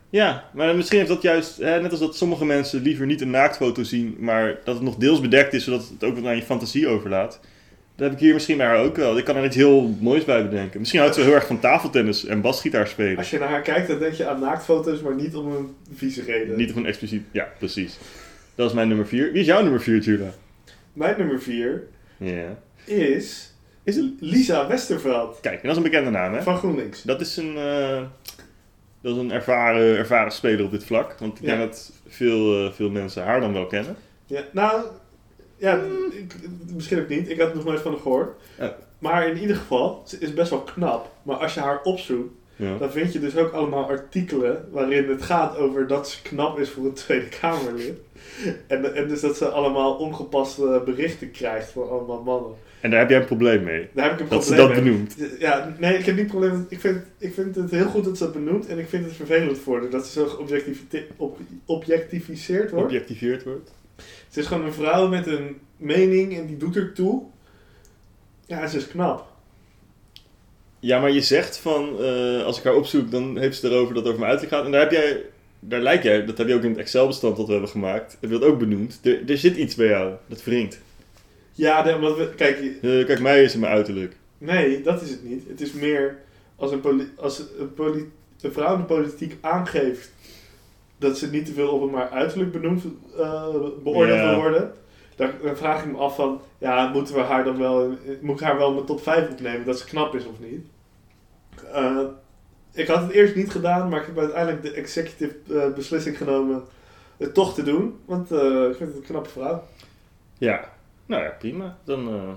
Ja, maar misschien heeft dat juist, hè, net als dat sommige mensen liever niet een naaktfoto zien, maar dat het nog deels bedekt is, zodat het ook wat aan je fantasie overlaat. Dat heb ik hier misschien bij haar ook wel. Ik kan er iets heel moois bij bedenken. Misschien houdt ze heel erg van tafeltennis en basgitaar spelen.
Als je naar haar kijkt, dan denk je aan naaktfoto's, maar niet om een vieze reden.
Niet van expliciet. Ja, precies. Dat is mijn nummer 4. Wie is jouw nummer 4, Jula?
Mijn nummer 4
Ja.
is...
Is het?
Lisa Westerveld
Kijk, en dat is een bekende naam, hè?
van GroenLinks.
Dat is een, eh, dat is een ervaren, ervaren speler op dit vlak. Want ik
Ja.
denk dat veel, eh, veel mensen haar dan wel kennen.
Ja, nou, ja, ik, misschien ook niet. Ik had nog nooit van haar gehoord.
Ja.
Maar in ieder geval, ze is best wel knap. Maar als je haar opzoekt,
Ja.
dan vind je dus ook allemaal artikelen waarin het gaat over dat ze knap is voor een Tweede Kamerlid. En, en dus dat ze allemaal ongepaste berichten krijgt van allemaal mannen.
En daar heb jij een probleem mee.
Daar heb ik een
Dat ze
probleem
dat
mee.
benoemt.
Ja, nee, ik heb niet probleem. met- Ik vind, ik vind het heel goed dat ze dat benoemt. En ik vind het vervelend voor haar dat ze zo geobjectivite- op- objectificeerd wordt.
Objectiveerd wordt.
Het is gewoon een vrouw met een mening en die doet er toe. Ja, ze is knap.
Ja, maar je zegt van, eh, als ik haar opzoek, dan heeft ze het erover dat het over mijn uiterlijk gaat. En daar heb jij, daar lijkt jij, dat heb je ook in het Excel-bestand dat we hebben gemaakt, heb je dat ook benoemd. Er, er zit iets bij jou, dat wringt.
Ja, nee, omdat we, kijk, je-
Eh, kijk, mij is in mijn uiterlijk.
nee, dat is het niet. Het is meer als een, poli- als een, poli- een vrouw in de politiek aangeeft dat ze niet te veel op een maar uiterlijk benoemd, eh, beoordeeld
Ja.
wil worden. Dan, dan vraag ik me af van, ja, moeten we haar dan wel, in- moet ik haar wel in mijn top 5 opnemen dat ze knap is of niet? Eh, ik had het eerst niet gedaan, maar ik heb uiteindelijk de executive eh, beslissing genomen het toch te doen. Want eh, ik vind het een knappe vrouw.
Ja, nou ja, prima. Dan eh,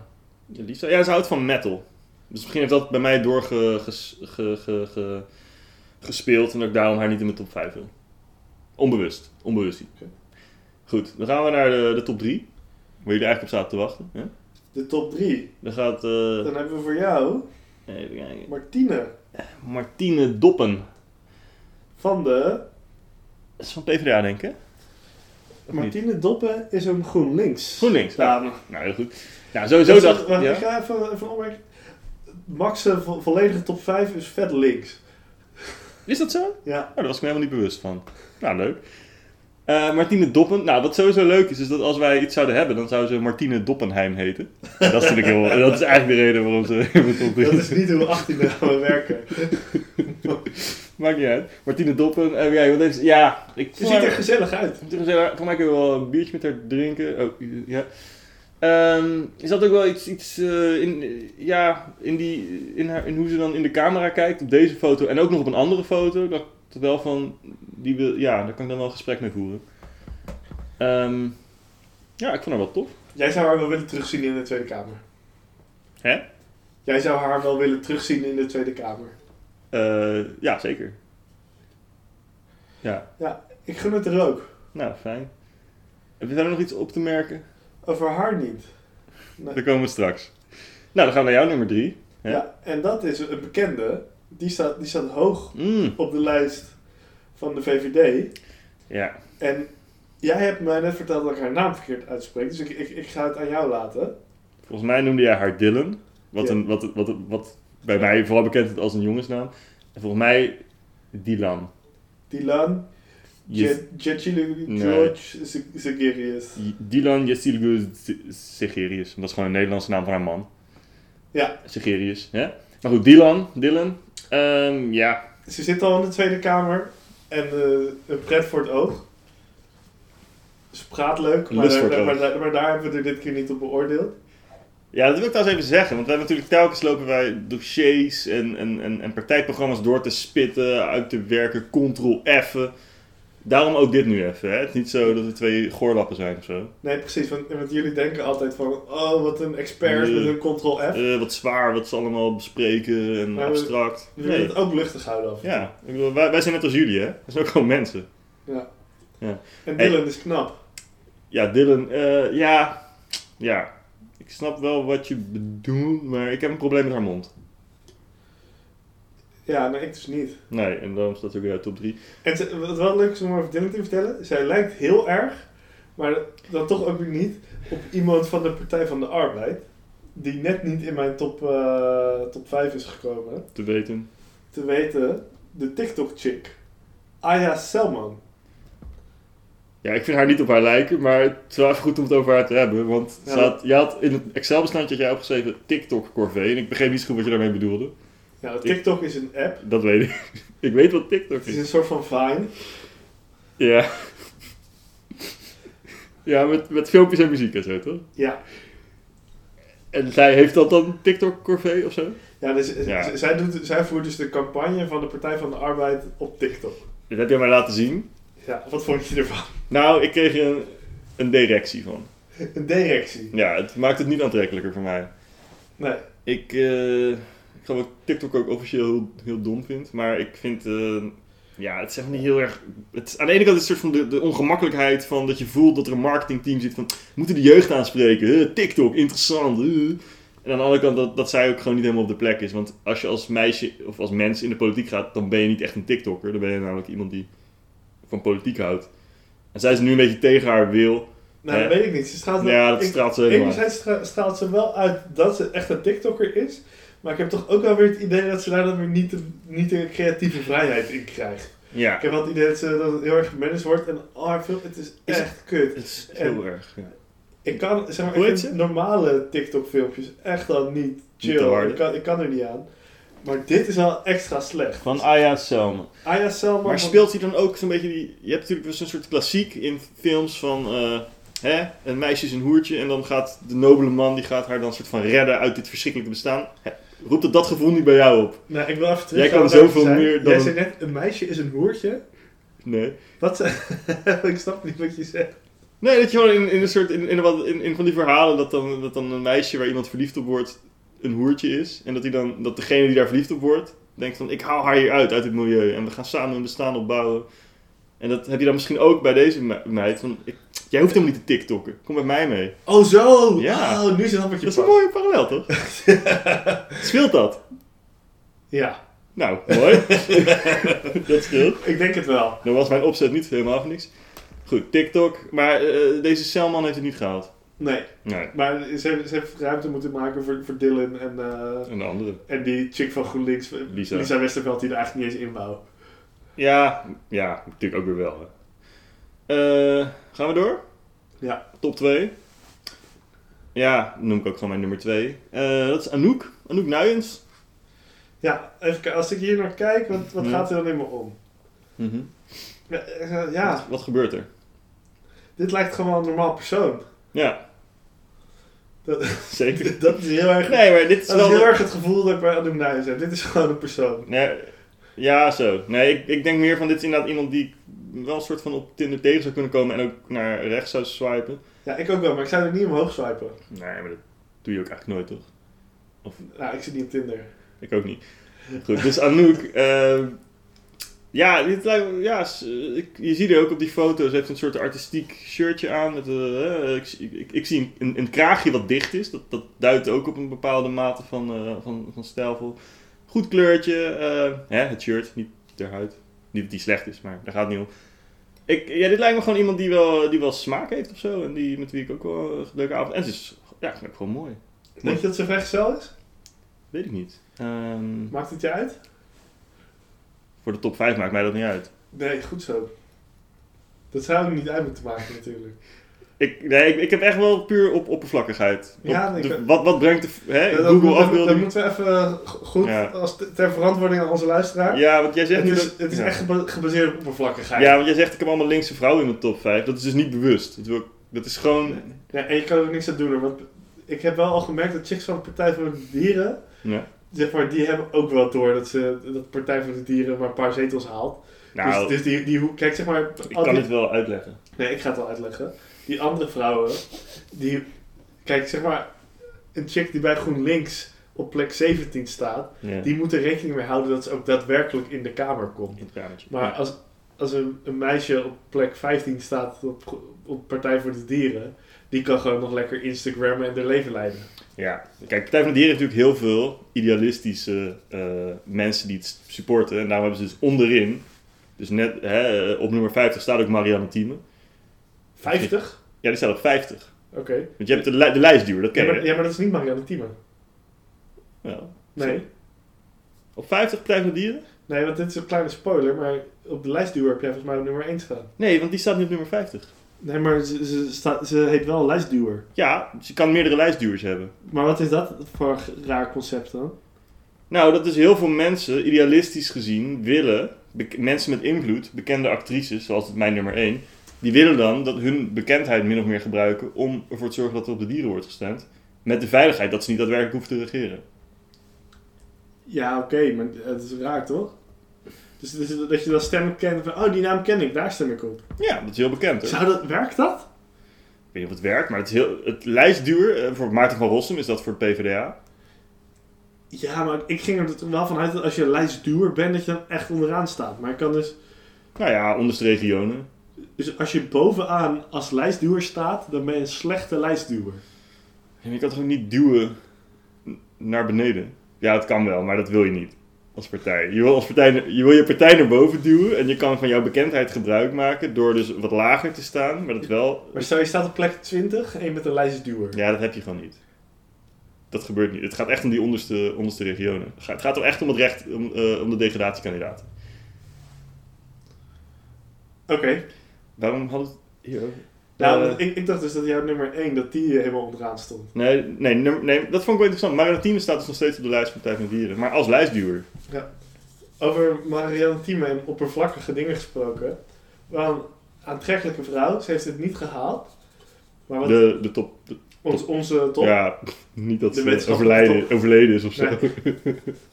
ja, Lisa. Ja, ze houdt van metal. Dus misschien heeft dat bij mij doorgespeeld en dat ik daarom haar niet in mijn top 5 wil. Onbewust. Onbewust.
Oké.
Goed, dan gaan we naar de, de top 3. Waar jullie eigenlijk op zaten te wachten. Hè?
De top 3.
Dan gaat eh
Dan hebben we voor jou
even kijken.
Martine
Martine Doppen.
van de...
Dat is van PvdA, denk ik. hè? Of niet?
Martine Doppen is een GroenLinks.
GroenLinks. Nou,
Dame. Dus, eh,
nou, heel goed. Nou, sowieso dacht
Wacht, Ik
ja.
ga even, even opmerken. Max' vo- volledige top 5 is vet links.
Is dat zo?
Ja.
Nou, daar was ik me helemaal niet bewust van. Nou, leuk. Eh, Martine Doppen. Nou, wat sowieso leuk is, is dat als wij iets zouden hebben, dan zou ze Martine Doppenheim heten. Dat vind ik heel... Dat is eigenlijk de reden waarom ze in mijn top drie
Dat is
zit.
niet hoe 18 we werken.
Maakt niet uit. Martine Doppen. En ja, wat is... Ja, ik...
Ze ziet er gezellig uit.
Om te zeggen, Voor mij kunnen we wel een biertje met haar drinken. Oh, ja. Ehm, is dat ook wel iets, iets eh, in, eh, ja, in, die, in, haar, in hoe ze dan in de camera kijkt op deze foto en ook nog op een andere foto? Dat ik wel van, die wil, ja, daar kan ik dan wel een gesprek mee voeren. Ehm, ja, ik vond haar wel tof.
Jij zou haar wel willen terugzien in de Tweede Kamer.
Hè?
Jij zou haar wel willen terugzien in de Tweede Kamer.
Eh, ja, zeker. Ja,
Ik gun het er ook.
nou, fijn. Heb je daar nog iets op te merken?
Over haar niet.
Daar komen we straks. Nou, dan gaan we naar jouw nummer drie.
Ja.
Ja.
en dat is een bekende. Die staat, die staat hoog
Mm,
op de lijst van de VVD.
ja,
En jij hebt mij net verteld dat ik haar naam verkeerd uitspreek. Dus ik, ik, ik ga het aan jou laten.
Volgens mij noemde jij haar Dylan. Wat,
Ja.
een, wat, wat, wat bij mij vooral bekend is als een jongensnaam. Volgens mij Dylan.
Dylan
Yes-
Jacilin
Nee.
George Z- Zagirius.
Dylan Yessilgu Segerius. Dat is gewoon een Nederlandse naam van haar man.
Ja.
Segerius, hè? Maar goed, Dylan. Dylan. Ehm, ja.
Ze zit al in de Tweede Kamer. En eh, een pret voor het oog. Ze praat leuk, maar,
Lust voor
daar,
het
maar,
oog.
daar- maar daar hebben we er dit keer niet op beoordeeld.
Ja, dat wil ik trouwens even zeggen. Want wij hebben natuurlijk telkens lopen wij dossiers en, en, en, en partijprogramma's door te spitten, uit te werken, control effen. Daarom ook dit nu even. Hè? Het is niet zo dat we twee goorlappen zijn of zo.
Nee, precies. Want, want jullie denken altijd van... Oh, wat een expert
Nee.
met een ctrl-f.
Eh, wat zwaar, wat ze allemaal bespreken en
Maar we-
abstract.
We willen
Nee.
het ook luchtig houden af. en toe.
Ja, ik bedoel, wij, wij zijn net als jullie, hè? Dat zijn ook gewoon mensen.
En
Hey.
Dylan is knap.
Ja, Dylan, eh, ja. Ja. Ik snap wel wat je bedoelt, maar ik heb een probleem met haar mond.
Ja, maar ik dus niet.
Nee, en daarom staat ze ook weer uit top 3.
En ze- wat wel leuk is om over Dylan te vertellen... Zij lijkt heel erg, maar dan toch ook weer niet... op iemand van de Partij van de Arbeid. Die net niet in mijn top, eh, top 5 is gekomen.
Te weten.
Te weten, de TikTok-chick. Aya Selman.
Ja, ik vind haar niet op haar lijken, maar het is wel even goed om het over haar te hebben. Want
Ja,
ze had, je had in het Excel-bestandje had jij opgeschreven TikTok-corvée. En ik begreep niet zo goed wat je daarmee bedoelde.
Nou, TikTok is een app.
Dat weet ik. ik weet wat TikTok
Het is
is.
een soort van Vine.
Ja. ja, met, met filmpjes en muziek en zo, toch?
Ja.
En zij heeft dat dan TikTok-corvée of zo?
Ja, dus, z-
Ja.
z- Zij, doet, zij voert dus de campagne van de Partij van de Arbeid op TikTok.
Dat heb jij mij laten zien.
Ja, wat vond je ervan?
Nou, ik kreeg er een, een directie van.
Een directie.
Ja, het maakt het niet aantrekkelijker voor mij.
Nee.
Ik, eh ik geloof dat ik TikTok ook officieel heel, heel dom vind. Maar ik vind, eh, ja, het is echt niet heel erg... Het is, aan de ene kant is het een soort van de, de ongemakkelijkheid van dat je voelt dat er een marketingteam zit van... "We moeten de jeugd aanspreken? Huh, TikTok, interessant. huh." En aan de andere kant dat, dat zij ook gewoon niet helemaal op de plek is. Want als je als meisje of als mens in de politiek gaat, dan ben je niet echt een TikToker. Dan ben je namelijk iemand die van politiek houdt. En zij is nu een beetje tegen haar wil.
Nou, dat
Hè?
weet ik niet. Ze straalt wel-
Ja, dat
ik-
straalt ze helemaal uit.
Enerzijds stra- straalt ze wel uit dat ze echt een TikToker is. Maar ik heb toch ook wel weer het idee dat ze daar dan weer niet de, niet de creatieve vrijheid in krijgt.
Ja,
Ik heb wel het idee dat ze dan heel erg gemanaged wordt. En oh, haar film, het is
Is
echt kut.
het is heel erg. Ja.
Ik kan, zeg maar,
Hoe
ik
heet
vind
ze?
normale TikTok filmpjes echt al niet
Niet te
chill.
harde.
ik, kan, ik kan er niet aan. Maar dit is wel extra slecht.
Van Aya Selman.
Aya Selman...
Maar
van-
speelt hij dan ook zo'n beetje die... Je hebt natuurlijk wel zo'n soort klassiek in films van... eh, hè, een meisje is een hoertje en dan gaat de nobele man... die gaat haar dan soort van redden uit dit verschrikkelijke bestaan. Hè, roept het dat gevoel niet bij jou op?
Nou, ik wil even terug.
Jij kan zoveel meer dan-
Jij zei net, een meisje is een hoertje.
Nee.
Wat? ze- ik snap niet wat je zegt.
Nee, dat je gewoon in, in een soort... In, in, wat- in, in van die verhalen dat dan, dat dan een meisje waar iemand verliefd op wordt... een hoertje is. En dat, die dan, dat degene die daar verliefd op wordt... denkt van ik haal haar hier uit, uit het milieu. En we gaan samen een bestaan opbouwen. En dat heb je dan misschien ook bij deze me- meid. Van, ik- jij hoeft helemaal niet te tiktokken. Kom met mij mee.
Oh zo!
Ja.
Oh, nu snap ik je
Dat is een
pas.
mooie parallel, toch? Scheelt dat?
Ja,
Nou, mooi. dat scheelt.
ik denk het wel.
Dan was mijn opzet niet helemaal voor niks. Goed, TikTok. Maar eh, deze Selman heeft het niet gehaald.
Nee,
Nee,
maar ze, heeft- ze heeft ruimte moeten maken voor, voor Dylan en, eh,
en de andere.
en die chick van GroenLinks. eh,
Lisa.
Westerveld die er eigenlijk niet eens in wou.
Ja, ja, natuurlijk ook weer wel. hè. Eh, gaan we door?
Ja.
Top 2. Ja, noem ik ook gewoon mijn nummer 2. dat is Anouk. Anouk Nuyens.
Ja, even, kijken, als ik hier naar kijk, wat, wat
Ja.
gaat er dan in me om?
Mhm.
Ja, eh, ja,
Wat, wat gebeurt er?
dit lijkt gewoon wel een normaal persoon.
Ja,
Dat,
zeker.
dat is heel erg...
Nee, maar dit is
Dat is
wel...
heel erg het gevoel dat ik bij Adam Nijs heb. Dit is gewoon een persoon.
Nee, ja, zo. Nee, ik, ik denk meer van dit is inderdaad iemand die ik wel een soort van op Tinder tegen zou kunnen komen en ook naar rechts zou swipen.
Ja, ik ook wel, maar ik zou er niet omhoog swipen.
Nee, maar dat doe je ook eigenlijk nooit, toch?
Nou, ik zit niet op Tinder.
Ik ook niet. Goed, dus Anouk. eh, ja, dit lijkt, me- ja s- ik, je ziet er ook op die foto's. Ze heeft een soort artistiek shirtje aan. Met, eh, eh, ik, zie- ik, ik zie een, een kraagje wat dicht is. Dat, dat duidt ook op een bepaalde mate van, eh, van, van stijlvol. Goed kleurtje. eh, hè, het shirt, niet de huid. Niet dat die slecht is, maar daar gaat het niet om. Ik, ja, dit lijkt me gewoon iemand die wel, die wel smaak heeft of zo. En die, met wie ik ook wel een leuke avond... En ze is ja, ik vind het gewoon mooi.
Denk je dat ze vrijgezel is?
Weet ik niet. Ehm,
Maakt het je uit?
voor de top 5 maakt mij dat niet uit.
Nee, goed zo. Dat zou er niet uit moeten maken natuurlijk.
Ik, nee, ik, ik heb echt wel puur op oppervlakkigheid. Op
Ja, nee,
de-
ik-
wat, wat brengt de, hè,
Dat- dat
Google
moet- dat- Dat
afbeelding?
moeten we even eh, go- goed
Ja.
als te- ter verantwoording aan onze luisteraar.
Ja, want jij zegt
Het
nu
is,
dat-
het is
ja.
echt geba- gebaseerd op oppervlakkigheid.
Ja, want jij zegt ik heb allemaal linkse vrouwen in mijn top 5. Dat is dus niet bewust. Dat, wil ik- dat is gewoon...
Ja, en je kan er ook niks aan doen. hoor, Want ik heb wel al gemerkt dat chicks van de Partij voor de Dieren,
Ja.
zeg maar, die hebben ook wel door dat, ze, dat Partij voor de Dieren maar een paar zetels haalt.
Nou,
dus dus die, die, hoe- kijk, zeg maar,
ik
al
kan
die-
dit wel uitleggen.
Nee, ik ga het wel uitleggen. Die andere vrouwen, die... Kijk, zeg maar, een chick die bij GroenLinks op plek 17 staat,
Ja.
die moet er rekening mee houden dat ze ook daadwerkelijk in de Kamer komt.
In het kamertje.
Maar als, als een, een meisje op plek 15 staat op, gro- op Partij voor de Dieren, die kan gewoon nog lekker Instagrammen en haar leven leiden.
Ja, kijk, Partij van de Dieren heeft natuurlijk heel veel idealistische eh, mensen die het supporten. En daarom hebben ze dus onderin, dus net hè, eh, op nummer 50 staat ook Marianne Thieme.
50?
Ja, die staat op 50.
Oké.
Want je hebt de, li- de lijstduur, dat
Ja,
ken je.
maar,
hè?
ja, maar dat is niet Marianne Thieme.
Ja.
Nee.
Op 50 Partij van de Dieren?
Nee, want dit is een kleine spoiler, maar op de lijstduwer heb jij volgens mij op nummer 1 staan.
Nee, want die staat niet op nummer 50.
Nee, maar ze, ze, staat, ze heet wel lijstduwer.
Ja, dus je kan meerdere lijstduwers hebben.
Maar wat is dat voor een raar concept dan?
Nou, dat is heel veel mensen, idealistisch gezien, willen, bek- mensen met invloed, bekende actrices, zoals het mijn nummer 1, die willen dan dat hun bekendheid min of meer gebruiken om ervoor te zorgen dat er op de dieren wordt gestemd. Met de veiligheid dat ze niet daadwerkelijk hoeven te regeren.
Ja, oké, maar het is raar toch? Dus, dus dat je dan stemmen kent van, oh die naam ken ik, daar stem ik op.
Ja, dat is heel bekend. Hoor.
Zou dat, werkt dat?
Ik weet niet of het werkt, maar het, is heel, het lijstduur, eh, voor Maarten van Rossum is dat voor het PvdA.
Ja, maar ik ging er toch wel vanuit dat als je lijstduwer bent, dat je dan echt onderaan staat. Maar je kan dus,
Nou ja, onderste regionen.
dus als je bovenaan als lijstduwer staat, dan ben je een slechte lijstduwer.
En je kan toch ook niet duwen n- naar beneden? Ja, het kan wel, maar dat wil je niet als partij. Je wil, als partij, je, wil je partij naar boven duwen en je kan van jouw bekendheid gebruik maken door dus wat lager te staan, maar dat wel...
Maar stel je staat op plek 20 en je bent een lijstduwer.
Ja, dat heb je gewoon niet. Dat gebeurt niet. Het gaat echt om die onderste, onderste regionen. Het gaat- Het gaat om echt om het recht, om, eh, om de degradatiekandidaten.
Oké,
Waarom hadden we het hier over?
nou,
Eh,
want ik, ik dacht dus dat jouw nummer 1, dat die eh, helemaal onderaan stond.
Nee, nee, nummer- nee, dat vond ik wel interessant. Marinatine staat dus nog steeds op de lijst van Partij van de Dieren. Maar als lijstduwer.
Over Marianne Thieme en oppervlakkige dingen gesproken. Wel een aantrekkelijke vrouw. Ze heeft het niet gehaald. Maar wat
De, de top, de-
ons, onze top.
Ja, niet dat
De
ze
wetenschappelijke
overlijden, overleden is of zo.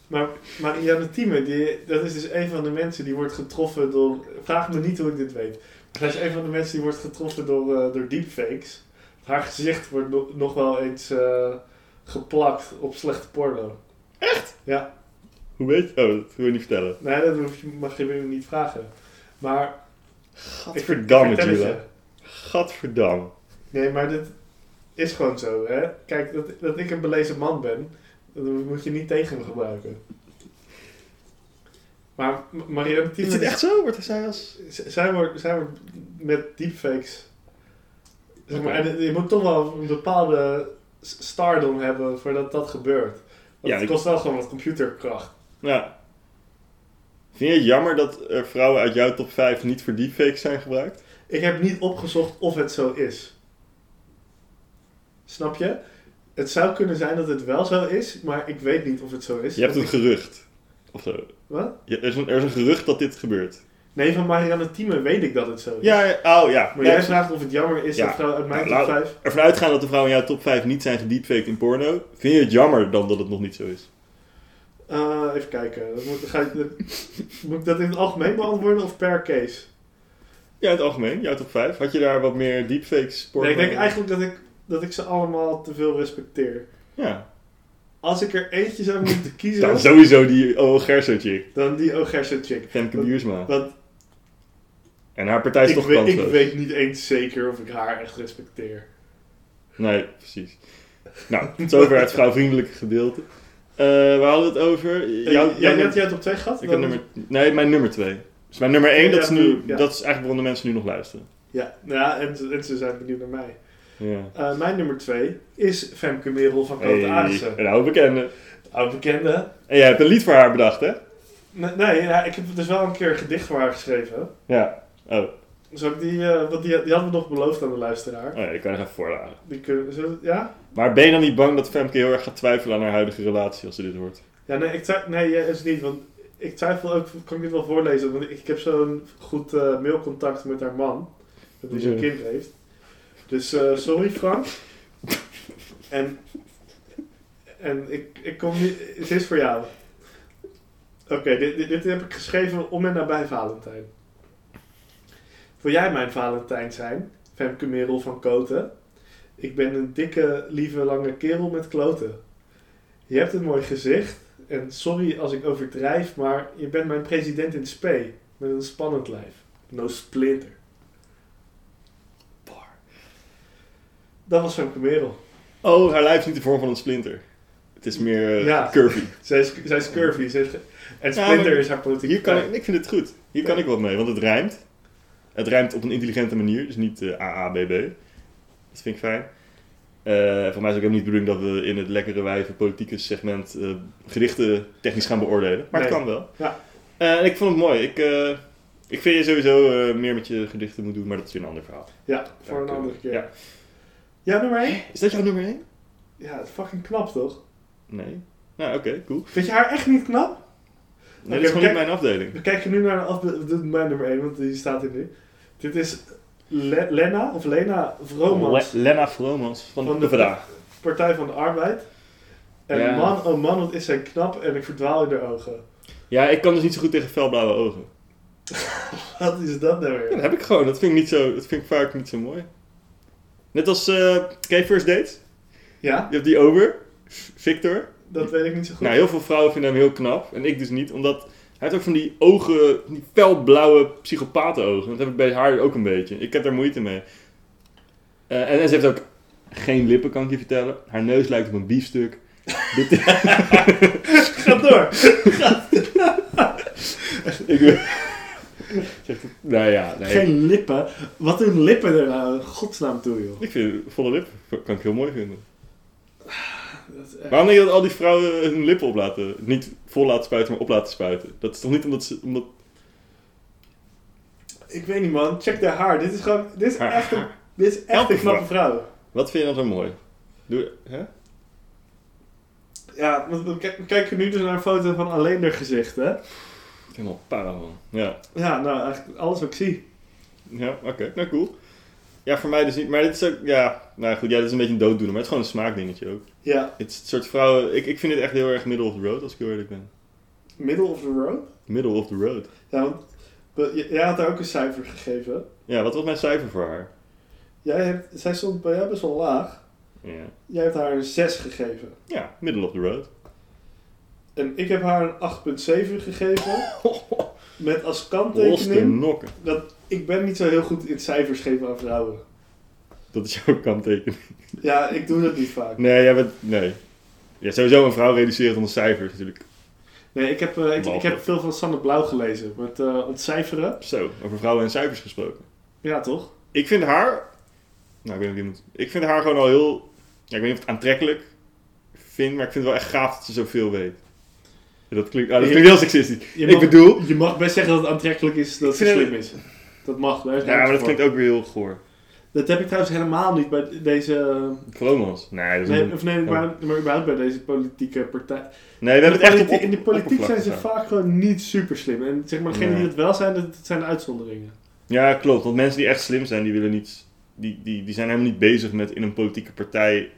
Maar Marianne Thieme, die, dat is dus een van de mensen die wordt getroffen door... Vraag me niet hoe ik dit weet. Maar Zij is een van de mensen die wordt getroffen door, eh, door deepfakes. Haar gezicht wordt no- nog wel eens eh, geplakt op slechte porno.
Hoe weet je? Oh, dat wil je niet vertellen.
Nee, dat hoef je, mag je me niet vragen. Maar
Gadverdamme,
vertel het je.
Jula. Gadverdamme.
Nee, maar dit is gewoon zo, hè? Kijk, dat, dat ik een belezen man ben, dat moet je niet tegen me gebruiken. Maar M- Marianne
Is dit
Thieme,
echt zo? Wordt zij als...
z- zij wordt, zij wordt met deepfakes... Zeg maar,
Oké.
en je moet toch wel een bepaalde s- stardom hebben voordat dat gebeurt.
Ja,
Want het
ik-
kost wel gewoon wat computerkracht.
Ja. Vind je het jammer dat er vrouwen uit jouw top 5 niet voor deepfakes zijn gebruikt?
Ik heb niet opgezocht of het zo is. Snap je? Het zou kunnen zijn dat het wel zo is, maar ik weet niet of het zo is.
Je hebt
Want
een gerucht. Of zo.
Wat? Oh,
Je- er, is een, er is een gerucht dat dit gebeurt.
Nee, van Marianne Thieme weet ik dat het zo is.
Ja, ja, oh ja.
dus- Maar
Ja,
jij vraagt of het jammer is
Ja.
dat vrouwen uit mijn
Nou,
top
laat-
5...
Ervan uitgaan dat de vrouwen in jouw top 5 niet zijn gediepfaked in porno. Vind je het jammer dan dat het nog niet zo is?
Eh, even kijken. Dat moet, ga ik, dat- moet ik dat in het algemeen beantwoorden of per case?
Ja, in het algemeen. Jouw top 5. Had je daar wat meer deepfakes porno?
Nee, ik denk eigenlijk dat ik, dat ik ze allemaal te veel respecteer.
Ja.
Als ik er eentje zou moeten
Dan
kiezen,
sowieso die oh Gerso chick.
dan die Ogerse chick.
Femke
Wat-
Duursma.
Want
En haar partij is
ik,
toch
weet, ik
kansloos.
weet niet eens zeker of ik haar echt respecteer.
Nee, precies. Nou, tot over het vrouwvriendelijke gedeelte. Eh waar hadden we het over?
Eh,
Jouw-
Jij
jouw
jij
nummer-
had jij het op twee gehad?
ik had
Dan-
nummer, nee, mijn nummer 2. Dus mijn nummer 1,
Ja,
dat, is nu,
ja.
dat is eigenlijk waarom de mensen nu nog luisteren.
Ja, nou ja en, ze- en ze zijn benieuwd naar mij.
Ja.
Eh, mijn nummer twee is Femke Merel van Grote
Hey,
Arissen.
een oude bekende.
Oud bekende.
En jij hebt een lied voor haar bedacht, hè?
Nee, nee, ja, ik heb dus wel een keer een gedicht voor haar geschreven.
Ja. Oh, oh
Zou ik die, eh, want die, die hadden we nog beloofd aan de luisteraar.
ja, die kan je nog even voorladen.
Die kunnen, zullen we- ja?
Maar ben je dan niet bang dat Femke heel erg gaat twijfelen aan haar huidige relatie als ze dit hoort?
Ja, nee, ik twi- nee, ja, is niet. Want ik twijfel ook, kan ik dit wel voorlezen? Want ik heb zo'n goed eh, mailcontact met haar man, dat die zo'n
Ja.
kind heeft. Dus eh, sorry Frank. en en ik, ik kom niet, het is voor jou. Oké, dit, dit, dit heb ik geschreven om en nabij Valentijn. Wil jij mijn Valentijn zijn, Femke Merel van Koten? Ik ben een dikke, lieve, lange kerel met kloten. Je hebt een mooi gezicht. En sorry als ik overdrijf, maar je bent mijn president in spe. Met een spannend lijf. No splinter. Bar. Dat was Femke Merel.
Oh, haar lijf is niet de vorm van een splinter. Het is meer eh,
Ja.
curvy.
Zij is, zij is curvy. Zij is ge- en
Ja,
splinter
maar-
is haar politieke
Hier kan
partij.
ik, ik vind het goed. Hier kan ik wat mee, want het rijmt. Het rijmt op een intelligente manier, dus niet eh AABB. Dat vind ik fijn. Eh voor mij is ook helemaal niet de bedoeling dat we in het lekkere wijven politieke segment eh, gedichten technisch gaan beoordelen. Maar het
Nee.
kan wel.
Ja.
Eh, en ik vond het mooi. Ik, eh, ik vind je sowieso eh, meer met je gedichten moet doen, maar dat is weer een ander verhaal.
Ja, voor een
Dank u.
andere keer.
Ja.
Ja. nummer 1?
Is dat jouw nummer 1?
Ja, fucking knap toch?
Nee. Nou, oké, cool.
Vind je haar echt niet knap?
Nee,
Oké,
dat is gewoon
kijk-
niet mijn afdeling.
We kijken nu naar de afbe- dit is mijn nummer 1, want die staat hier nu. Dit is Le- Lena, of Lena Vromans.
Le- Lena Vromans van,
Van
de
de-
Vandaag.
Partij van de Arbeid. En
Ja.
man, oh man, wat is zij knap en ik verdwaal in haar ogen.
Ja, ik kan dus niet zo goed tegen felblauwe ogen.
Wat is dat nou
Ja, dat
weer?
heb ik gewoon. Dat vind ik, niet zo, dat vind ik vaak niet zo mooi. Net als, eh ken je First Dates?
Ja,
Je hebt die over, Victor.
dat weet ik niet zo goed.
Nou, heel veel vrouwen vinden hem heel knap. En ik dus niet, omdat hij heeft ook van die ogen, van die felblauwe psychopatenogen. Dat heb ik bij haar ook een beetje. Ik heb daar moeite mee. Eh, en, en ze heeft ook geen lippen, kan ik je vertellen. Haar neus lijkt op een biefstuk. Dit-
Ga door.
ik wil- Zegt het- nou ja, nee.
Geen lippen. Wat doen lippen er nou in godsnaam toe, joh?
Ik vind volle lip kan ik heel mooi vinden.
Dat is echt-
Waarom denk je dat al die vrouwen hun lippen op laten? Niet vol laten spuiten, maar op laten spuiten. Dat is toch niet omdat ze. Omdat...
Ik weet niet, man. Check haar haar. Dit is gewoon... Dit is
Haar
echt een, dit is echt
Elke
een knappe vrouw.
Wat vind je dan zo mooi? Doe, hè?
Ja, want we, kijk- we kijken nu dus naar een foto van alleen haar gezicht, hè?
Helemaal para man. Ja,
Ja, nou, eigenlijk alles wat ik zie.
ja oké. Nou, cool. Ja, voor mij dus niet. Maar dit is ook. Ja, nou goed. Ja, dit is een beetje een dooddoener. Maar het is gewoon een smaakdingetje ook.
Ja,
Het is het soort vrouwen. Ik, ik vind dit echt heel erg middle of the road, als ik heel eerlijk ben.
middle of the road.
Middle of the road.
Ja, want we- j- jij had haar ook een cijfer gegeven.
Ja, wat was mijn cijfer voor haar?
Jij hebt, zij stond bij jou best wel laag.
Ja.
Jij hebt haar een 6 gegeven.
Ja, middle of the road.
En ik heb haar een 8,7 gegeven. Met als
Loste
kanttekening
nokken.
dat ik ben niet zo heel goed in cijfers geven aan vrouwen.
Dat is jouw kanttekening.
Ja, ik doe dat niet vaak.
Nee, jij bent. Nee. Ja, sowieso een vrouw reduceert onder cijfers natuurlijk.
Nee, ik heb, eh, ik, ik
Behalve.
heb veel van Sanne Blauw gelezen. Met eh, ontcijferen.
Zo, over vrouwen en cijfers gesproken.
Ja, toch?
Ik vind haar. Nou, ik weet niet of je moet. Ik vind haar gewoon al heel. Ja, ik weet niet of ik het aantrekkelijk vind, maar ik vind het wel echt gaaf dat ze zoveel weet. Ja, dat klinkt, ah, dat klinkt heel seksistisch.
Je
ik
mag-
bedoel.
Je mag best zeggen dat het aantrekkelijk is dat
Ik
ze
vind
slim is. Dat mag. Daar is
Ja, maar
ruimte
dat
voor.
klinkt ook weer heel goor.
dat heb ik trouwens helemaal niet bij deze... eh,
Promos. Nee, dat is
Nee,
een-
of nee, maar, maar überhaupt bij deze politieke partij.
nee, we hebben het echt op,
in de politiek
oppervlak
zijn ze
gedaan.
vaak gewoon niet super slim. En zeg maar, degenen
Nee.
die dat wel zijn, dat, dat zijn de uitzonderingen.
Ja, klopt. Want mensen die echt slim zijn, die willen niet. Die, die, die zijn helemaal niet bezig met in een politieke partij.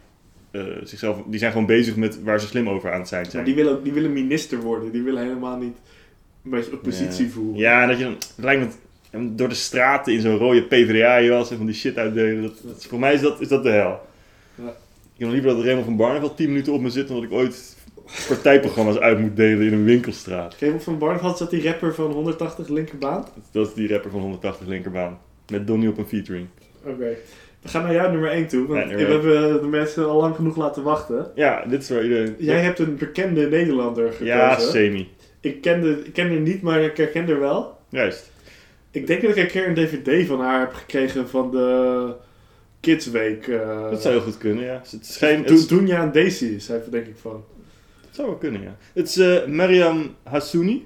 eh, zichzelf, die zijn gewoon bezig met waar ze slim over aan het zijn.
Maar
zijn.
die willen, ook- die willen minister worden. Die willen helemaal niet een beetje oppositie
Ja.
voeren.
Ja, en dat je dan het lijkt me hem door de straten in zo'n rode PvdA je wel ze van die shit uitdelen. Dat, dat is- voor mij is dat, is dat de hel.
Ja.
Ik heb nog liever dat Raymond van Barneveld 10 minuten op me zit dan dat ik ooit partijprogramma's uit moet delen in een winkelstraat.
Raymond van Barneveld zat die rapper van 180 linkerbaan.
Dat is die rapper van 180 linkerbaan. Met Donnie op een featuring.
Oké. We gaan naar jou nummer 1 toe, want
Ja, nummer
we hebben de mensen al lang genoeg laten wachten.
Ja, dit is waar iedereen...
Jij hebt een bekende Nederlander gekozen.
ja, semi.
ik kende, ik ken haar niet, maar ik herken haar wel.
Juist.
Ik denk dat ik een keer een dvd van haar heb gekregen van de Kids Week. eh,
Dat zou heel goed kunnen, ja. Dus Het is geen... Het,
Toen
is-
Dunja en Daisy is hij, denk ik van.
het zou wel kunnen, ja. Het is eh, Mariam Hassouni.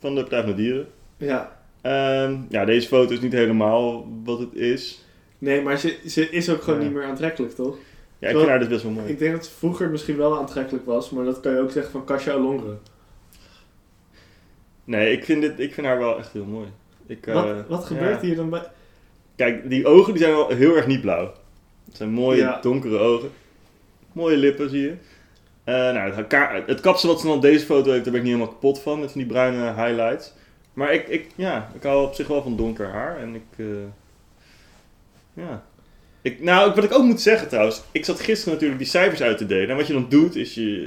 van de Partij van de Dieren.
Ja.
Ehm, ja, deze foto is niet helemaal wat het is.
Nee, maar ze, ze is ook gewoon
Ja.
niet meer aantrekkelijk, toch?
Ja, ik
Wel-
vind haar dus best wel mooi.
Ik denk dat ze vroeger misschien wel aantrekkelijk was, maar dat kan je ook zeggen van Kasia Longre.
Nee, ik vind, dit, ik vind haar wel echt heel mooi. Ik, eh,
wat, wat gebeurt
ja.
hier dan bij?
Kijk, die ogen die zijn wel heel erg niet blauw. Het zijn mooie,
Ja.
donkere ogen. Mooie lippen zie je. Eh, nou, het, ka- het kapsel wat ze dan op deze foto heeft, daar ben ik niet helemaal kapot van. Met van die bruine highlights. Maar ik, ik, ja, ik hou op zich wel van donker haar. En ik, eh, ja. Ik, nou, wat ik ook moet zeggen trouwens. Ik zat gisteren natuurlijk die cijfers uit te delen. En wat je dan doet, is je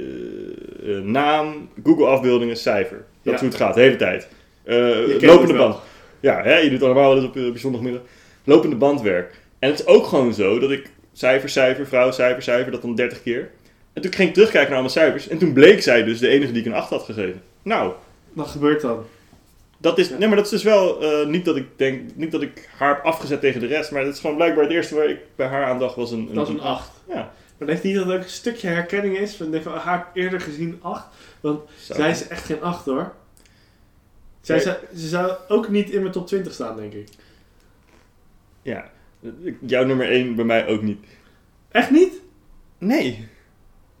eh, eh, naam, Google afbeeldingen, cijfer. Dat
Ja.
is hoe het gaat, de hele tijd. Eh,
kent
lopende
het wel.
band. Ja, hè, je doet allemaal dus op, eh, op je zondagmiddag. Lopende bandwerk. En het is ook gewoon zo dat ik cijfer, cijfer, vrouw, cijfer, cijfer, dat dan 30 keer. En toen ging ik terugkijken naar alle cijfers. En toen bleek zij dus de enige die ik een 8 had gegeven. Nou,
Wat gebeurt dan?
dat is.
Ja.
Nee, maar dat is dus wel. eh, niet dat ik denk. Niet dat ik haar heb afgezet tegen de rest. Maar dat is gewoon blijkbaar het eerste waar ik bij haar aan dacht was een. een-
Dat is een 8.
Ja.
Maar denk je niet dat het ook een stukje herkenning is? Van, ik heb haar eerder gezien 8.
Zo.
Zij is echt geen 8 hoor. Zij
Nee.
zou, ze zou ook niet in mijn top 20 staan, denk ik.
Ja. Ik- Jouw nummer 1 bij mij ook niet.
Echt niet?
Nee.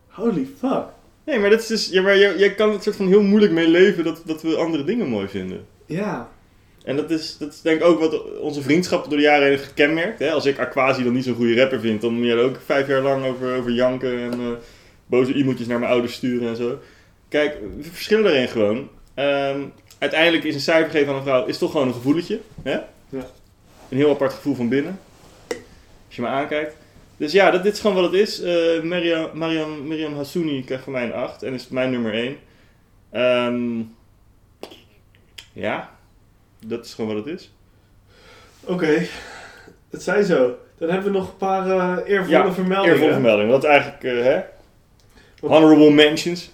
Holy fuck.
Nee, maar dat is dus. Ja, maar jij, jij kan het soort van heel moeilijk mee leven dat, dat we andere dingen mooi vinden.
Ja.
En dat is, dat is denk ik ook wat onze vriendschap door de jaren heen heeft gekenmerkt. Hè? Als ik Aquasi dan niet zo'n goede rapper vind, dan moet je er ook vijf jaar lang over, over janken en eh, boze e-mailtjes naar mijn ouders sturen en zo. Kijk, we verschillen daarin gewoon. Ehm, uiteindelijk is een cijfer geven aan een vrouw is toch gewoon een gevoeletje. Hè? Een heel apart gevoel van binnen. Als je me aankijkt. Dus ja, dat, dit is gewoon wat het is. Eh Miriam, Mariam, Miriam Hassouni krijgt van mij een 8 en is mijn nummer 1. Ehm, ja, dat is gewoon wat het is.
Oké. Het zij zo. Dan hebben we nog een paar eh, eervolle
Ja,
vermeldingen.
Eervolle vermelding, dat is eigenlijk, eh, hè?
Wat-
Honorable mentions.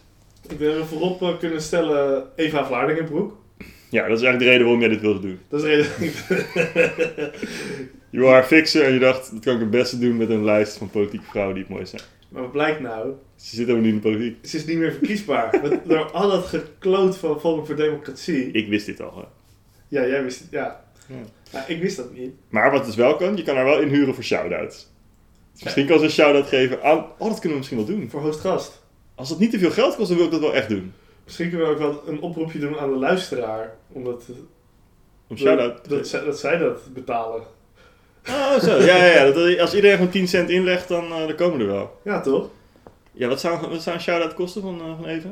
Ik wil even voorop eh, kunnen stellen Eva Vlaardingenbroek.
Ja, dat is eigenlijk de reden waarom jij dit wilde doen.
Dat is de reden.
Je wou haar fixen en je dacht, dat kan ik het beste doen met een lijst van politieke vrouwen die het mooi zijn.
maar wat blijkt nou?
Ze zit ook niet in de politiek.
Ze is niet meer verkiesbaar. Met- Door al dat gekloot van Forum voor Democratie.
Ik wist dit al. hè.
Ja, jij wist het. Ja.
Ja.
Nou, ik wist dat niet.
Maar wat dus wel kan, je kan haar wel inhuren voor shout-outs. Dus misschien kan ze een shout-out geven aan... Oh, dat kunnen we misschien wel doen.
Voor hoostgast.
Als dat niet te veel geld kost, dan wil ik dat wel echt doen.
Misschien kunnen we ook wel een oproepje doen aan de luisteraar. Omdat
Om shout-out
dat,
te
dat,
geven.
zij, dat zij dat betalen.
Oh, zo. Ja, ja, ja. Dat, als iedereen gewoon 10 cent inlegt, dan, eh, dan komen we er wel.
Ja, toch?
Ja, wat zou, wat zou een shout-out kosten van, eh, van Eva?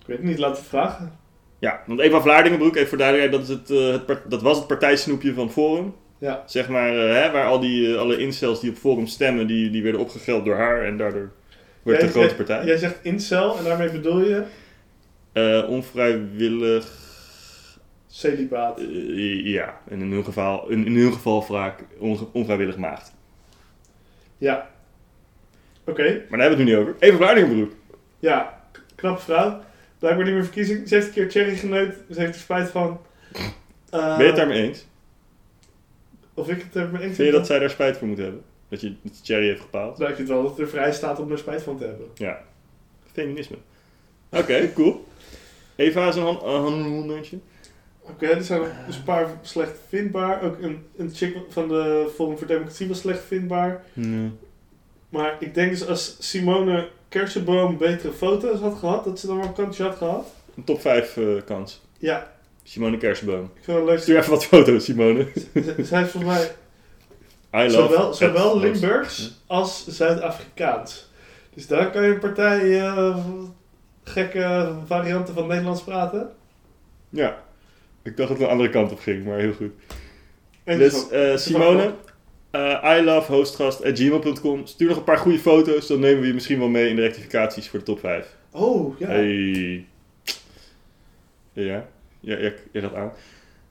Ik weet het niet, laten we vragen.
Ja, want Eva Vlaardingenbroek, even voor duidelijkheid, dat, is het, eh, het par- dat was het partijsnoepje van Forum.
Ja.
Zeg maar, eh, hè, waar al die, eh, alle incels die op Forum stemmen, die, die werden opgegeld door haar en daardoor werd
Jij-
de grote
jij-
partij.
Jij zegt incel en daarmee bedoel je
Eh, onvrijwillig,
celibaat.
eh, ja, en in hun geval, in, in hun geval vaak onge- onvrijwillig maagd.
Ja. Oké,
Maar daar hebben we het nu niet over. Eva Vlaardingenbroek.
ja. K- Knappe vrouw. Blijkbaar niet meer verkiezing. Ze heeft een keer cherry geneukt. Ze heeft er spijt van. Eh,
ben je het daarmee eens?
Of ik het er mee eens
Vind je
ben?
dat zij daar spijt voor moet hebben? Dat je dat Cherry heeft gepaald?
Nou, ik vind wel dat het er vrij staat om er spijt van te hebben.
Feminisme. Oké, cool. Eva is een han- een handelmondje.
Oké, er zijn nog dus een paar slecht vindbaar. Ook een, een chick van de Forum voor Democratie was slecht vindbaar.
Nee.
Maar ik denk dus als Simone Kersenboom betere foto's had gehad, dat ze dan wel een kansje had gehad.
Een top 5 kans.
Ja.
Simone Kersenboom.
Ik vind het leuk.
Stuur even wat foto's, Simone.
Ze- Zij is volgens mij
I love
zowel,
het
zowel
hoofd.
Limburgs als Zuid-Afrikaans. Dus daar kan je een partij eh, gekke varianten van Nederlands praten.
Ja. Ik dacht dat het een andere kant op ging, maar heel goed.
En
dus
zo.
eh, Simone, eh I love hostgast at gmail.com. Stuur nog een paar goede foto's, dan nemen we je misschien wel mee in de rectificaties voor de top 5.
Oh, ja.
Hey. Ja, ja, ja, je gaat aan.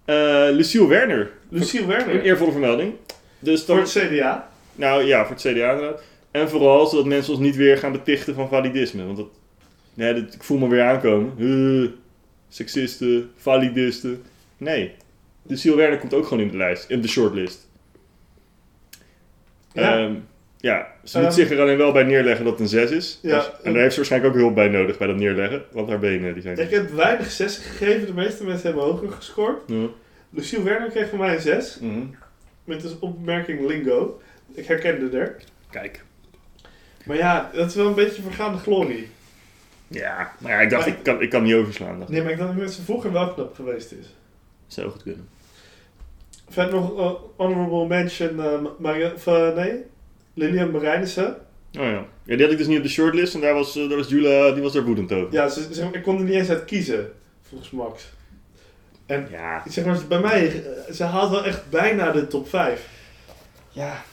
Eh, Luciel Werner,
Luciel
een
Werner.
eervolle vermelding. Dus
Voor
dan,
het CDA.
nou ja, voor het CDA inderdaad. En vooral zodat mensen ons niet weer gaan betichten van validisme. Want dat, nee, dat, ik voel me weer aankomen. Eh, seksisten, validisten. Nee. Lucille Werner komt ook gewoon in de lijst, in de shortlist.
Ja.
Ehm, Ja, ze moet
Ehm.
zich er alleen wel bij neerleggen dat het een 6 is.
Ja.
Dus- en daar heeft ze waarschijnlijk ook hulp bij nodig bij dat neerleggen, want haar benen die zijn.
Ik heb weinig 6 gegeven, de meeste mensen hebben hoger gescoord.
Ja.
Lucille Werner kreeg van mij een 6,
Mhm.
met als opmerking lingo. Ik herkende er.
Kijk.
Maar ja, dat is wel een beetje vergaande glorie.
Ja, maar ja, ik dacht,
Maar-
ik kan, ik kan niet overslaan. Dacht. ik.
Nee, maar ik dacht dat ze vroeger wel knap geweest is.
Zou goed kunnen.
Verder nog eh, honorable mention, eh Maria, of, eh, nee, Lilian Marijnissen.
Oh ja. ja, die had ik dus niet op de shortlist en daar was, eh, daar was Jula, die was daar woedend over.
Ja, ze, ze- ik kon er niet eens uit kiezen, volgens Max.
Ja.
Zeg maar, bij mij, eh, ze haalt wel echt bijna de top 5.
Ja.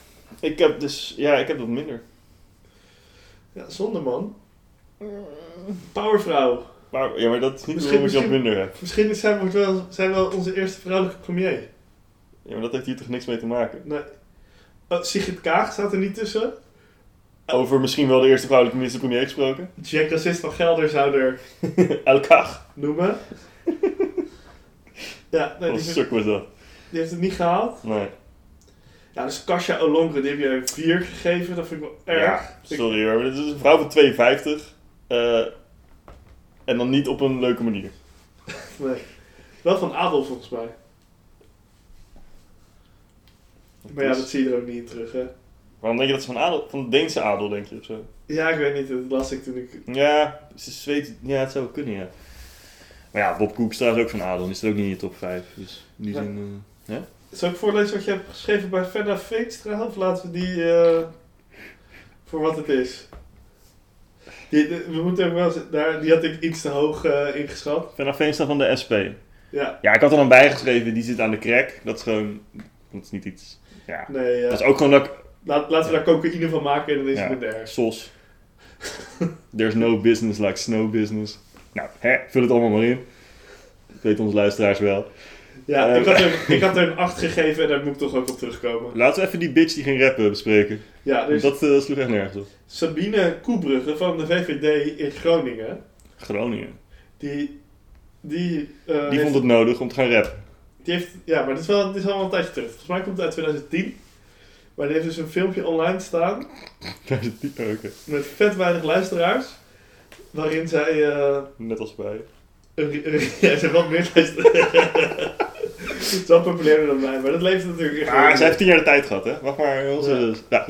Ik heb dus, ja, ik heb wat minder.
Ja, zonde man. Powervrouw.
Maar, ja, maar dat is niet
Misschien-
waarom ik dat
misschien-
minder heb.
Misschien is zij wordt wel, zij wel onze eerste vrouwelijke premier.
Ja, maar dat heeft hier toch niks mee te maken.
Nee. Oh, Sigrid Kaag staat er niet tussen.
Over misschien wel de eerste vrouwelijke minister-premier gesproken.
Jack Racist van Gelder zou er
Elkaar.
noemen. ja, nee,
Wat
die,
een
heeft-
stuk was dat.
die heeft het niet gehaald.
Nee.
Ja, dus Kasia Olongren, die heb je een 4 gegeven. Dat vind ik wel erg.
Ja, sorry hoor, maar dit is een vrouw van 52. eh, en dan niet op een leuke manier.
Nee. Wel van Adolf volgens mij. Maar ja,
Dus-
dat zie je er ook niet in terug, hè.
Waarom denk je dat ze van, adel, van de Deense adel, denk je of zo?
Ja, ik weet niet. Dat las ik toen ik...
Ja, ze is Zweed, ja, het zou wel kunnen, ja. Maar ja, Bob Koek is trouwens ook van adel, die staat ook niet in je top 5. Dus in die
Ja.
zin... eh,
Zal ik voorlezen wat je hebt geschreven bij Fedda Veenstra? Of laten we die eh, voor wat het is? Die, die- we moeten ook wel... z- Daar, die had ik iets te hoog eh, ingeschat.
Vanaf Veenstra van de SP.
Ja,
Ja, ik had er dan bijgeschreven, die zit aan de crack. Dat is gewoon... Dat is niet iets... Ja.
nee. eh,
Dat is ook gewoon dat ik...
laat, laten we daar cocaïne van maken en dan is
Ja.
het minder erg.
Sos. There's no business like snow business. Nou, hè, vul het allemaal maar in. Dat weten onze luisteraars wel.
Ja,
Eh,
ik, had er, ik had er een 8 gegeven en daar moet ik toch ook op terugkomen.
Laten we even die bitch die ging rappen bespreken.
Ja, dus
Dat eh, sloeg echt nergens op.
Sabine Koebrugge van de VVD in Groningen,
Groningen.
die, die, eh,
Die
heeft,
vond het nodig om te gaan rappen.
die heeft, ja, maar dit is wel, dit is wel een tijdje terug. Volgens mij komt het uit 2010. Maar die heeft dus een filmpje online staan
Oh, Oké,
met vet weinig luisteraars, waarin zij, eh,
net als bij.
een, ja, ze heeft wat meer luisteraars. Het is wel populairder dan mij, maar dat leeft natuurlijk in
Maar
Groningen.
Ah, zij heeft tien jaar de tijd gehad, hè? Wacht maar, onze...
Ja.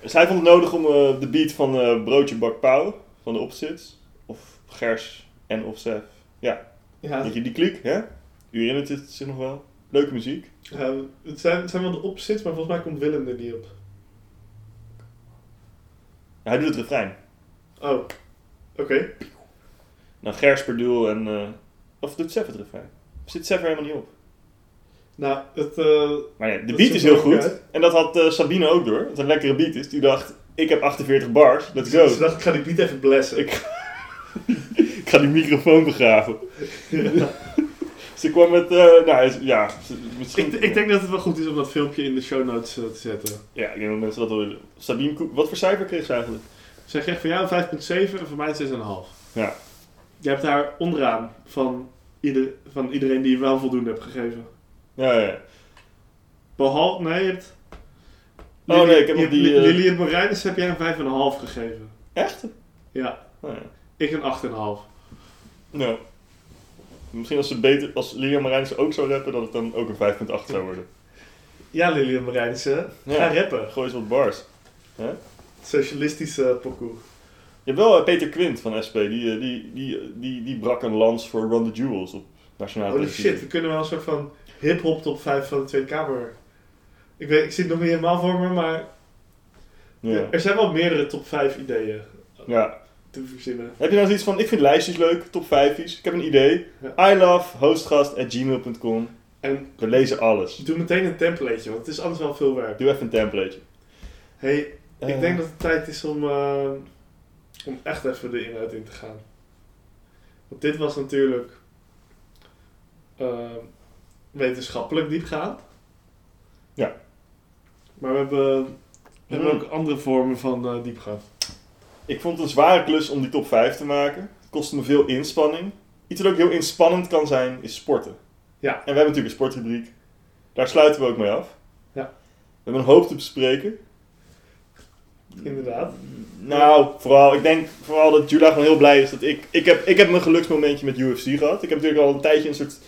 Ja. Zij vond het nodig om eh, de beat van eh, Broodje Bak Pauw van de Opzits. Of Gers en Offsef.
Ja,
Weet je, die kliek, hè? U herinnert het zich nog wel. Leuke muziek.
eh, het, zijn, het zijn wel de opzits, maar volgens mij komt Willem er niet op.
Ja, hij doet het refrein.
Oh, oké.
Dan Gers per duel en... eh, of doet Sef het refrein? Of zit Sef er helemaal niet op?
Nou, het, eh,
Maar ja, de
Dat
beat
is
is heel
ook,
goed.
hè?
En dat had eh, Sabine ook door. Dat het een lekkere beat is. Die dacht, ik heb 48 bars, let's go.
Ze dacht, ik dus ga die niet even blessen.
Ik- Ik ga die microfoon begraven. Ze kwam met, eh, nou is- ja, ze- misschien...
ik, ik denk dat het wel goed is om dat filmpje in de show notes eh, te zetten.
Ja, ik denk dat mensen dat wel willen. Sabine, Koek- wat voor cijfer kreeg ze eigenlijk?
Zij kreeg van jou een 5,7 en van mij een 6,5.
Ja.
Je hebt haar onderaan van, ieder, van iedereen die je wel voldoende hebt gegeven.
Ja, ja, ja.
Behalve, nee, je hebt...
Oh, nee, ik heb
je
nog
hebt
die,
Li-
eh,
Lilian Marijnis heb jij een 5,5 gegeven.
Echt?
Ja,
Nou, ja.
ik een 8,5.
Nou. Misschien als, ze beter, als Lilian Marijnissen ook zou rappen, dat het dan ook een 5.8 zou worden.
Ja, Lilian Marijnis, hè? ga
Ja.
rappen.
Gooi eens wat bars.
Socialistische pokoe.
Je hebt wel eh, Peter Quint van SP, die, eh, die, die, die, die brak een lans voor Run the Jewels op nationale
Holy
televisie.
shit, we kunnen wel een soort van hip-hop top 5 van de Tweede Kamer. Ik, weet, ik zie het nog niet helemaal voor me, maar
Ja.
er zijn wel meerdere top 5 ideeën
ja.
te verzinnen.
Heb je nou zoiets van, ik vind lijstjes leuk, top 5's, ik heb een idee.
Ja.
I love hostgast.gmail.com.
En
We lezen alles.
doe meteen een templateje, want het is anders wel veel werk.
Doe even een templateje.
Hey, ik
Eh,
denk dat het tijd is om, eh, om echt even de inhoud in te gaan. Want dit was natuurlijk eh, wetenschappelijk diepgaand.
Ja.
Maar we hebben, we hebben
Mm.
ook andere vormen van eh diepgaand.
Ik vond het een zware klus om die top 5 te maken. Het kostte me veel inspanning. Iets wat ook heel inspannend kan zijn, is sporten.
Ja.
En we hebben natuurlijk een sportrubriek. Daar sluiten we ook mee af.
Ja.
We hebben een hoop te bespreken.
inderdaad.
Nou, vooral, ik denk vooral dat Jula gewoon heel blij is dat ik... Ik heb, ik heb mijn geluksmomentje met UFC gehad. Ik heb natuurlijk al een tijdje een soort,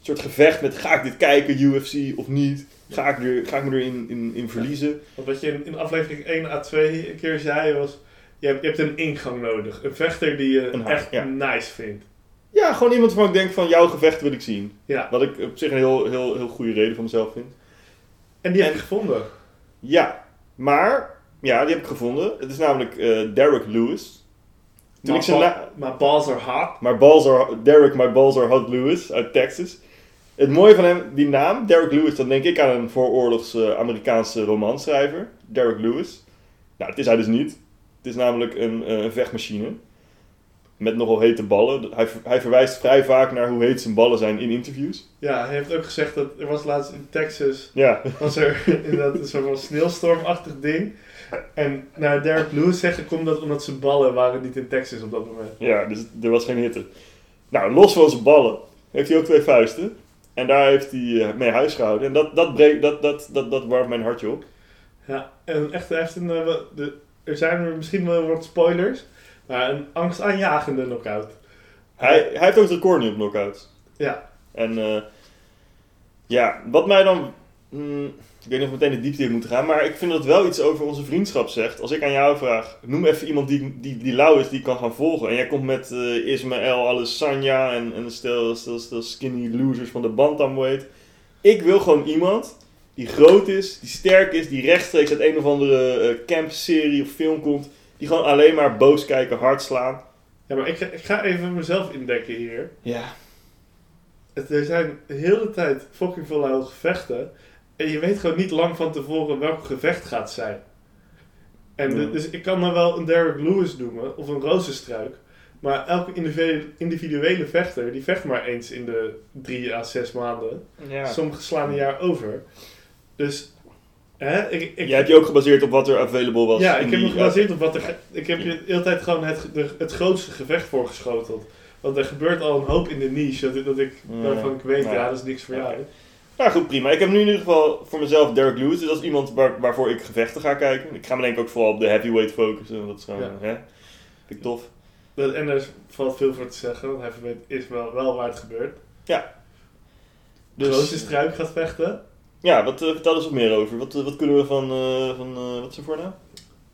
soort gevecht met... Ga ik dit kijken, UFC, of niet? Ga ik, er, ga ik me erin in, in verliezen?
Want wat je in, in aflevering 1 à 2 een keer zei was... Je hebt, je hebt een ingang nodig. Een vechter die je
Een hart,
echt
ja.
nice vindt.
Ja, gewoon iemand waarvan ik denk van... Jouw gevecht wil ik zien.
Ja.
Wat ik op zich een heel, heel, heel goede reden van mezelf vind.
En die
En-
heb ik gevonden.
Ja, maar... Ja, die heb ik gevonden. Het is namelijk eh, Derek Lewis. Toen
my,
ik zijn
ba-
na-
my balls are hot.
My balls are... Derek, my balls are hot Lewis uit Texas. Het mooie van hem, die naam, Derek Lewis, dan denk ik aan een vooroorlogs eh, Amerikaanse romanschrijver. Derek Lewis. Nou, het is hij dus niet. Het is namelijk een eh, vechtmachine. Met nogal hete ballen. Hij, ver- hij verwijst vrij vaak naar hoe heet zijn ballen zijn in interviews.
Ja, hij heeft ook gezegd dat er was laatst in Texas...
Ja,
was er inderdaad een soort van sneeuwstormachtig ding. En naar Derek Lewis zeggen komt dat omdat zijn ballen waren niet in Texas op dat moment.
ja, dus er was geen hitte. Nou, los van zijn ballen heeft hij ook twee vuisten. En daar heeft hij eh, mee huis gehouden. En dat, dat, breekt, dat, dat, dat, dat warmt mijn hartje op.
Ja, en echt, hij heeft een, eh, wel- de, er zijn er misschien wel wat spoilers, maar een angstaanjagende knockout.
Hij, hij heeft ook het record nu op knockouts.
Ja.
En eh, ja, wat mij dan. mm, ik weet niet of we meteen de diepte in moeten gaan, maar ik vind dat het wel iets over onze vriendschap zegt. Als ik aan jou vraag, noem even iemand die, die, die lauw is, die ik kan gaan volgen. En jij komt met eh, Ismaël, Alessandra en, en een stel, stel, stel skinny losers van de bantamweight. Ik wil gewoon iemand die groot is, die sterk is, die rechtstreeks uit een of andere eh, campserie of film komt. Die gewoon alleen maar boos kijken, hard slaan.
Ja, maar ik, ga- ik ga even mezelf indekken hier.
Ja,
Het, er zijn de hele tijd fucking veel luide gevechten. En je weet gewoon niet lang van tevoren welk gevecht gaat zijn. En de-
Ja.
dus ik kan dan wel een Derek Lewis noemen of een rozenstruik. Maar elke individu- individuele vechter, die vecht maar eens in de drie à zes maanden.
ja.
Sommigen slaan een jaar over. Dus, hè, ik, ik,
Jij hebt je ook gebaseerd op wat er available was.
ja,
in
ik heb
die-
me gebaseerd op wat er. ge- Ik heb je de hele tijd gewoon het, de- het grootste gevecht voorgeschoteld. Want er gebeurt al een hoop in de niche. Dat, ik- dat ik
Ja.
waarvan ik weet,
Mm. Ja.
ja, dat is niks voor jou.
Nou goed, prima. Ik heb nu in ieder geval voor mezelf Derek Lewis. Dus dat is iemand waar, waarvoor ik gevechten ga kijken. Ik ga me denk ik ook vooral op de heavyweight focussen. Want dat is gewoon,
Ja.
hè, vind ik tof.
Dat, en er valt veel voor te zeggen, want hij vermeent is wel, wel waar het gebeurt. De
Dus,
Roos struik gaat vechten.
ja, wat eh, vertel eens wat meer over. Wat, eh, wat kunnen we van, eh, van eh, wat is zijn voornaam?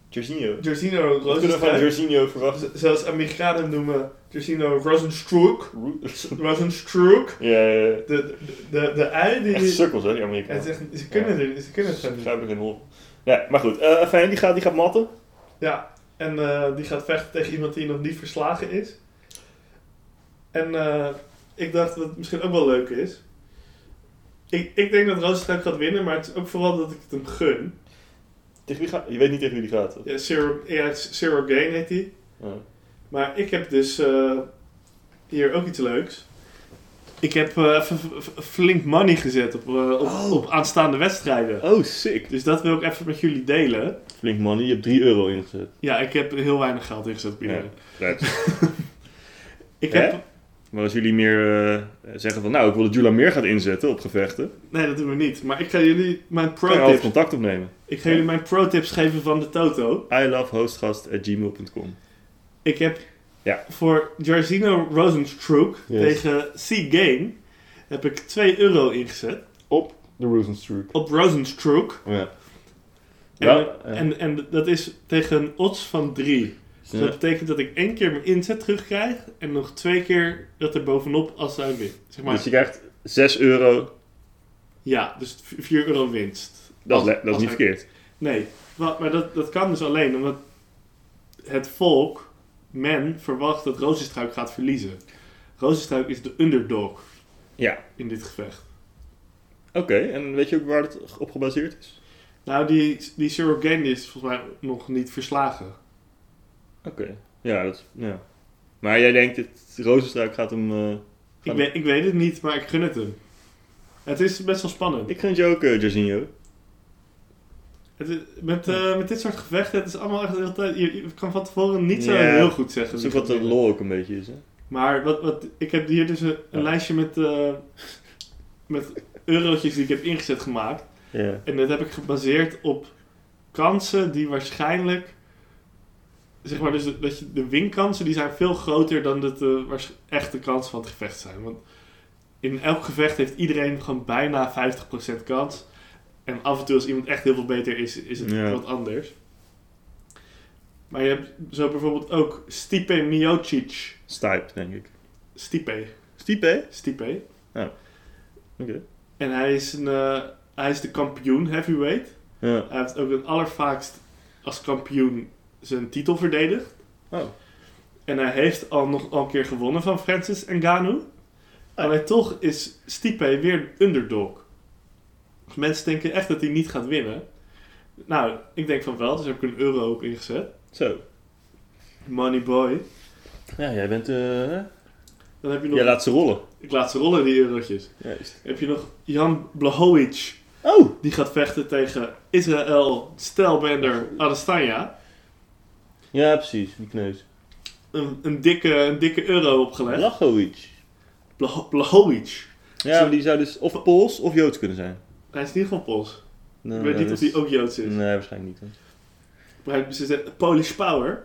Jorginho.
Jorginho
Wat kunnen we van
Rozenstruik.
Jorginho verwachten?
Z- Zoals Amerikanen noemen, Jorginho Rozenstruik.
Root-
Rozenstruik.
ja, ja, ja.
De, de, de, de ei die...
Echt sukkels, hè, die
het
Amerikanen.
is echt- ze, kunnen het, ze kunnen het gewoon niet.
Begrijp ik geen hol. Nee, maar goed. eh fijn, die gaat, die gaat matten.
Ja, en eh, die gaat vechten tegen iemand die nog niet verslagen is. En eh, ik dacht dat het misschien ook wel leuk is. Ik, ik denk dat Rozenstruik gaat winnen, maar het is ook vooral dat ik het hem gun.
Tegen wie gaat? Je weet niet tegen wie die gaat. hè?
Ja, Zero, ja, Zero Gain heet die.
Ja.
Maar ik heb dus eh, hier ook iets leuks. Ik heb eh, even v- v- flink money gezet op, eh, op,
Oh.
op aanstaande wedstrijden.
Oh, sick.
Dus dat wil ik even met jullie delen.
Flink man, je hebt 3 euro ingezet.
Ja, ik heb heel weinig geld ingezet. Ja. Ik
Hè?
heb...
Maar als jullie meer eh, zeggen van, nou, ik wil dat Jula meer gaat inzetten op gevechten,
Nee, dat doen we niet. Maar ik ga jullie mijn
kan je altijd
pro-tips...
contact opnemen.
Ik ga jullie mijn pro-tips geven van de Toto.
I love hostgast at gmail.com.
Ik heb
Ja.
voor Jorginho Rosenstruck
Yes.
tegen Sea Gain... heb ik 2 euro ingezet.
De Rosenstruck.
Op Rosenstruck.
Oh Ja.
En, en, en dat is tegen een odds van 3. Dus dat betekent dat ik één keer mijn inzet terugkrijg en nog twee keer dat er bovenop als hij wint. Zeg maar,
Dus je krijgt 6 euro,
Ja, dus 4 euro winst.
dat is,
Als-
le- dat
als
is niet
hij-
verkeerd.
Nee, wa- maar dat, dat kan dus alleen omdat het volk, men, verwacht dat Rozenstruik gaat verliezen. Rozenstruik is de underdog
Ja.
in dit gevecht.
Oké, en weet je ook waar het op gebaseerd is?
Nou, die, die Zero Gain is volgens mij nog niet verslagen.
Oké. Ja, dat ja. Maar jij denkt, het Rozenstruik gaat hem... eh,
Ik, weet- ik weet het niet, maar ik gun het hem. Het is best wel spannend.
Ik gun je ook, eh Jorginho.
Het is- met, eh, met dit soort gevechten, het is allemaal echt de hele tijd. Je, je kan van tevoren niet zo
Ja.
heel goed zeggen.
Dat is
wie
ook wat
gaat
de
winnen.
lol ook een beetje is, hè?
Maar wat, wat, ik heb hier dus een,
Ja.
een lijstje met, eh, met eurotjes die ik heb ingezet gemaakt.
Ja.
En dat heb ik gebaseerd op kansen die waarschijnlijk. Zeg maar, dus dat- dat je, de winkansen die zijn veel groter dan dat de waars- echte kansen van het gevecht zijn. Want in elk gevecht heeft iedereen gewoon bijna 50% kans. En af en toe, als iemand echt heel veel beter is, is het
Ja.
wat anders. Maar je hebt zo bijvoorbeeld ook Stipe Miocic.
Stipe, denk ik.
Stipe.
Stipe? hè?
Stipe.
Oké.
En hij is, een, eh, hij is de kampioen heavyweight.
Ja.
Hij heeft ook het allervaakst als kampioen zijn titel verdedigd.
Oh.
En hij heeft al nog al een keer gewonnen van Francis Ngannou. Alleen toch is Stipe weer een underdog. Dus mensen denken echt dat hij niet gaat winnen. Nou, ik denk van wel, dus heb ik een euro op ingezet.
Zo.
Money boy.
Ja, jij bent... eh,
Dan heb je nog...
Jij laat ze rollen.
Ik laat ze rollen, die eurotjes.
Juist.
Dan heb je nog Jan Blahovic.
Oh!
Die gaat vechten tegen Israël Stelbender Adesanya.
Ja, precies. Die kneus.
Een, een, dikke, een dikke euro opgelegd.
Lachowicz.
Blah- Blachowicz.
Ja, maar die zou dus of Pools of Joods kunnen zijn.
Hij is niet van Pools.
Nee,
ik weet niet
dat
of
is-
hij ook Joods is.
Nee, waarschijnlijk niet. hè.
Maar ze zegt Polish Power.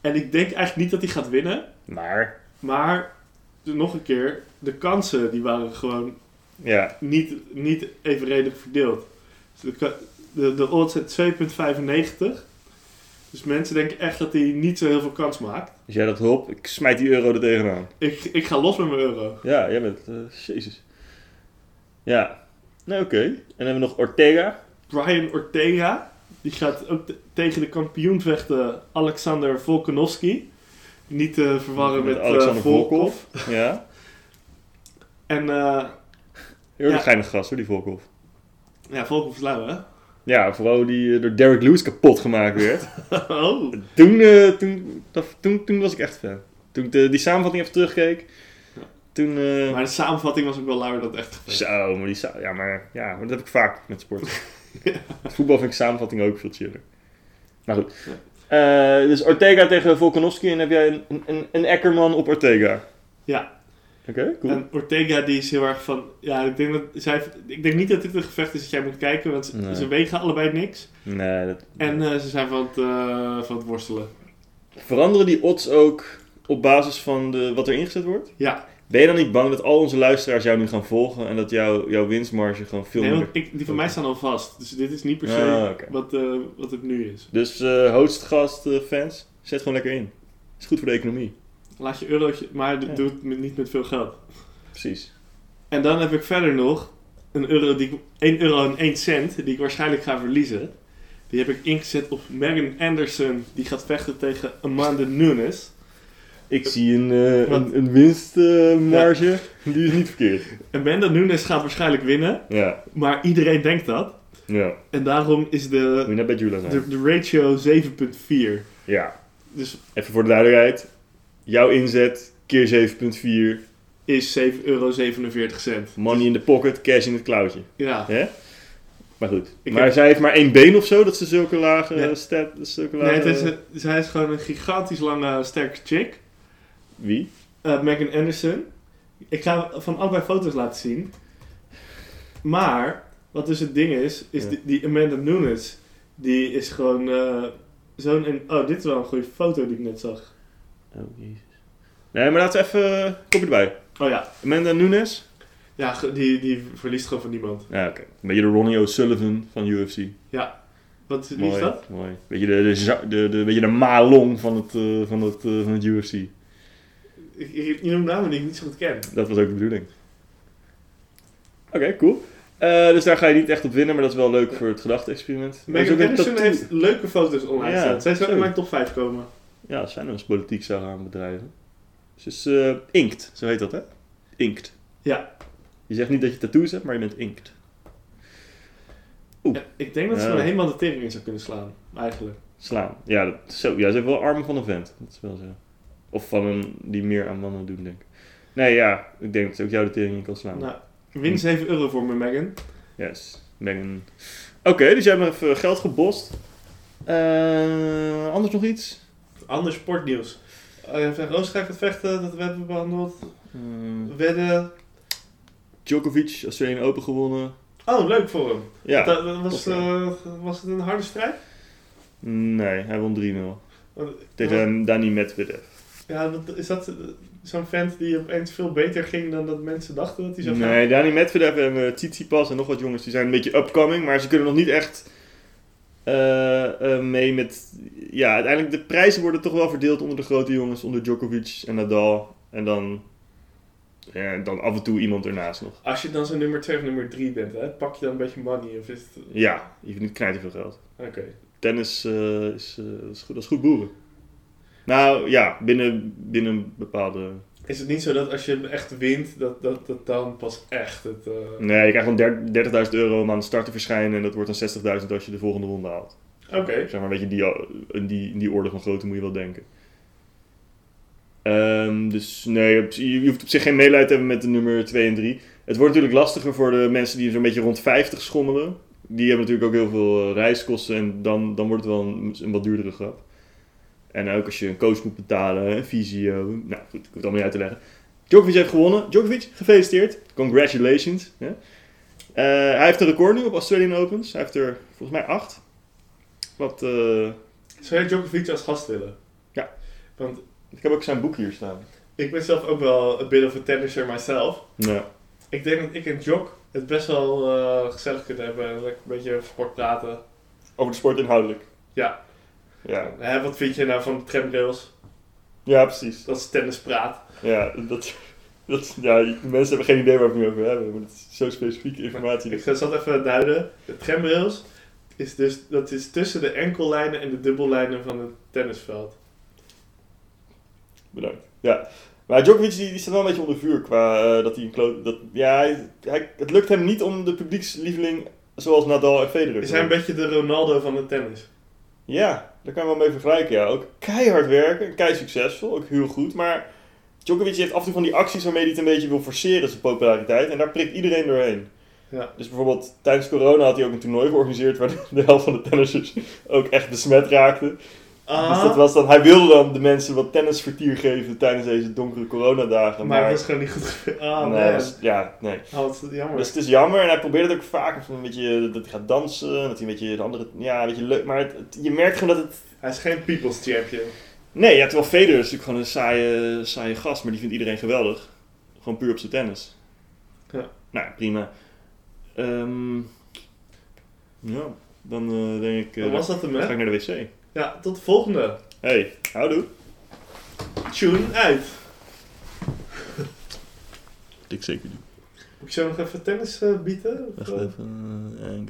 En ik denk eigenlijk niet dat hij gaat winnen.
Maar...
Maar de- nog een keer, de kansen die waren gewoon
Ja.
niet, niet evenredig verdeeld. Dus De, ka- de, de odds zijn 2,95. Dus mensen denken echt dat hij niet zo heel veel kans maakt.
Dus jij dat hop, ik smijt die euro er tegenaan.
Ik, ik ga los met mijn euro.
Ja, jij bent... eh, jezus. Ja. Nou, oké. En dan hebben we nog Ortega.
Brian Ortega. Die gaat ook te- tegen de kampioen vechten, Alexander Volkanovski. Niet te verwarren met, Alexander Volkov.
Ja.
En eh,
Heel
Ja.
geinig gast hoor, die Volkov.
ja, Volkov is lui, hè?
Ja, vooral hoe die eh, door Derek Lewis kapot gemaakt werd.
Oh.
toen, eh, toen, dat- toen, toen was ik echt fan. Toen ik de, die samenvatting even terugkeek, toen... eh,
Maar de samenvatting was ook wel lauwer dan echt.
Zo, maar die sa- ja, maar, ja, maar dat heb ik vaak met sport. Voetbal vind ik samenvatting ook veel chiller. Maar goed. Eh, dus Ortega tegen Volkanovski en heb jij een, een- een, een Eckerman op Ortega.
Ja.
Oké, cool.
En Ortega die is heel erg van... Ja, ik denk, dat, zij, ik denk niet dat dit een gevecht is dat jij moet kijken, want ze,
Nee.
ze wegen allebei niks.
nee, dat,
En eh, ze zijn van het, eh, van het worstelen.
Veranderen die odds ook op basis van de, wat er ingezet wordt?
Ja.
Ben je dan niet bang dat al onze luisteraars jou nu gaan volgen en dat jouw jouw winstmarge gewoon veel
Nee,
minder...
want ik, die van mij staan al vast. Dus dit is niet per se
Ah, oké.
wat, eh, wat het nu is.
Dus eh hostgast, eh, fans, zet gewoon lekker in. Is goed voor de economie.
Laat je eurotje, maar dat
Ja.
doe het met- niet met veel geld.
Precies.
En dan heb ik verder nog een euro die ik, 1 euro en 1 cent die ik waarschijnlijk ga verliezen. Die heb ik ingezet op Megan Anderson. Die gaat vechten tegen Amanda Nunes.
Ik zie een, eh,
Wat?
een, winstmarge, die is niet verkeerd.
Amanda Nunes gaat waarschijnlijk winnen,
Ja,
maar iedereen denkt dat.
ja.
En daarom is
Moet
de,
je net bij Jula zijn.
de, de ratio 7,4.
Ja.
Dus
Even voor de duidelijkheid. Jouw inzet, keer 7.4,
is 7,47 euro.
money in the pocket, cash in het klauwtje.
Ja,
Hè? Maar goed.
Ik
maar
heb-
zij heeft maar één been of zo, dat ze zulke lage
Nee.
eh, stat... Zulke lage...
nee, het is, een- zij is gewoon een gigantisch lange, sterke chick.
Wie?
eh Megan Anderson. Ik ga van allebei foto's laten zien. Maar, wat dus het ding is, is
Ja.
die, die Amanda Nunes, die is gewoon eh, zo'n... en- Oh, dit is wel een goede foto die ik net zag.
Oh, jezus. Nee, maar laten we even... eh, Kopje erbij.
Oh ja,
Amanda Nunes?
ja ge- die, die verliest gewoon van niemand.
Ja, oké. Een beetje de Ronnie O'Sullivan van UFC.
Wat, wie
Mooi,
is dat?
Mooi. Beetje de, de, za- de, de, beetje de malong van het, eh, van, het, eh, van het UFC.
Ik, ik, je noemt namen die ik niet zo goed ken.
Dat was ook de bedoeling. Oké, cool. Eh, dus daar ga je niet echt op winnen, maar dat is wel leuk voor het gedachte-experiment. Er is ook
Megan
een
Anderson
tattoo.
heeft leuke foto's online
Ja,
staan. Zij zou in
zo.
mijn top 5 komen.
Ja, als zij nou eens politiek zou gaan bedrijven. Ze is eh, inkt, zo heet dat hè? Inkt.
Ja.
Je zegt niet dat je tattoos hebt, maar je bent inkt. Oeh.
Ja, ik denk dat ze
Ja.
me helemaal de tering in zou kunnen slaan, eigenlijk.
Slaan. Ja, dat, zo, ja, ze heeft wel armen van een vent. Dat is wel zo. Of van een die meer aan mannen doen, denk ik. Nee, ja, ik denk dat ze ook jou de tering in kan slaan.
Nou, win 7 euro voor me, Megan.
Yes, Megan. Oké, dus jij hebt nog even geld gebost. Eh, anders nog iets?
Ander sportnieuws. Uh, Roos gaat het vechten, dat hebben we behandeld.
Eh,
Wedden.
Djokovic, Australian Open gewonnen.
Oh, leuk voor hem.
Ja.
Dat- dat was,
Oké.
eh, was het een harde strijd?
Nee, hij won 3-0.
Want-
Tegen ehm, Dani Medvedev.
Ja, dat, is dat eh, zo'n vent die opeens veel beter ging dan dat mensen dachten dat hij zou gaan?
Nee, Dani Medvedev en eh, Tsitsipas en nog wat jongens, die zijn een beetje upcoming. Maar ze kunnen nog niet echt eh, eh, mee met... Ja, uiteindelijk de prijzen worden toch wel verdeeld onder de grote jongens. Onder Djokovic en Nadal. En dan, ja, dan af en toe iemand ernaast nog.
Als je dan zo'n nummer 2 of nummer 3 bent, hè, pak je dan een beetje money of is het...
Ja, je verdient knijterveel geld.
Oké.
Tennis eh, is, eh, dat is, goed, dat is goed boeren. Nou ja, binnen, binnen een bepaalde...
Is het niet zo dat als je hem echt wint, dat, dat, dat dan pas echt het... eh,
Nee, je krijgt dan der- 30.000 euro om aan de start te verschijnen. En dat wordt dan 60.000 als je de volgende ronde haalt.
Oké.
Zeg maar, weet je, die, in, die, in die orde van grootte moet je wel denken. Ehm, dus nee, op- je, je hoeft op zich geen medelijden te hebben met de nummer 2 en 3. Het wordt natuurlijk lastiger voor de mensen die zo'n beetje rond 50 schommelen. Die hebben natuurlijk ook heel veel eh, reiskosten en dan, dan wordt het wel een, een wat duurdere grap. En ook als je een coach moet betalen, een visio. Nou goed, ik hoef het allemaal niet uit te leggen. Djokovic heeft gewonnen. Djokovic, gefeliciteerd. Congratulations. Ja. Eh, hij heeft een record nu op Australian Opens. Hij heeft er volgens mij acht. Wat, eh,
Zou jij Djokovic als gast willen?
Ja.
Want
ik heb ook zijn boek hier staan.
ik ben zelf ook wel een bit of a tennisser myself.
Ja.
Ik denk dat ik en Jok het best wel eh, gezellig kunnen hebben. en Lekker een beetje over sport praten.
Over de sport inhoudelijk.
Ja.
Ja,
Hè, wat vind je nou van de tramrails? Dus
ja precies.
Dat is tennispraat.
Ja, dat, dat, ja, mensen hebben geen idee waar we het nu over hebben. Maar het is zo specifieke informatie.
Ik zal Dus dat even duiden. De tramrails is dus dat is tussen de enkellijnen en de dubbellijnen van het tennisveld.
Bedankt. Ja. Maar Djokovic die, die staat wel een beetje onder vuur qua eh, dat hij een kloot... Dat, ja, hij, hij- het lukt hem niet om de publiekslieveling zoals Nadal en Federer te
Is hij een
worden.
beetje de Ronaldo van het
Dus
tennis?
Ja, daar kan je wel mee vergelijken. Ja. Ook keihard werken, kei succesvol, ook heel goed. Maar Djokovic heeft af en toe van die acties waarmee hij het een beetje wil forceren, zijn populariteit. En daar prikt iedereen doorheen.
Ja.
Dus bijvoorbeeld tijdens corona had hij ook een toernooi georganiseerd waar de- de helft van de tennissers ook echt besmet raakten. Dus
Ah,
dat was dan, hij wilde dan de mensen wat tennisvertier geven tijdens deze donkere coronadagen.
maar
Maar,
dat was gewoon niet goed. ge- Ah,
Nee,
nee.
dat was- ja, nee.
Oh, wat jammer.
Dus het is jammer en hij probeert het ook vaak. Of een beetje dat hij gaat dansen, dat hij een beetje de andere. Ja, een beetje leuk. Maar het- het- je merkt gewoon dat het
Hij is geen people's champion.
Nee, ja, terwijl Federer is natuurlijk gewoon een saaie, saaie gast, maar die vindt iedereen geweldig. Gewoon puur op zijn tennis.
Ja.
Nou, prima. Ehm, ja, dan eh, denk ik... eh,
Dan was dat hem,
dan ga
hè?
ik naar de wc.
Ja, tot de volgende.
Hey, houdoe.
Tune uit.
Ik zeker niet.
Moet ik zo nog even tennis eh, bieden? Of, eh?
even.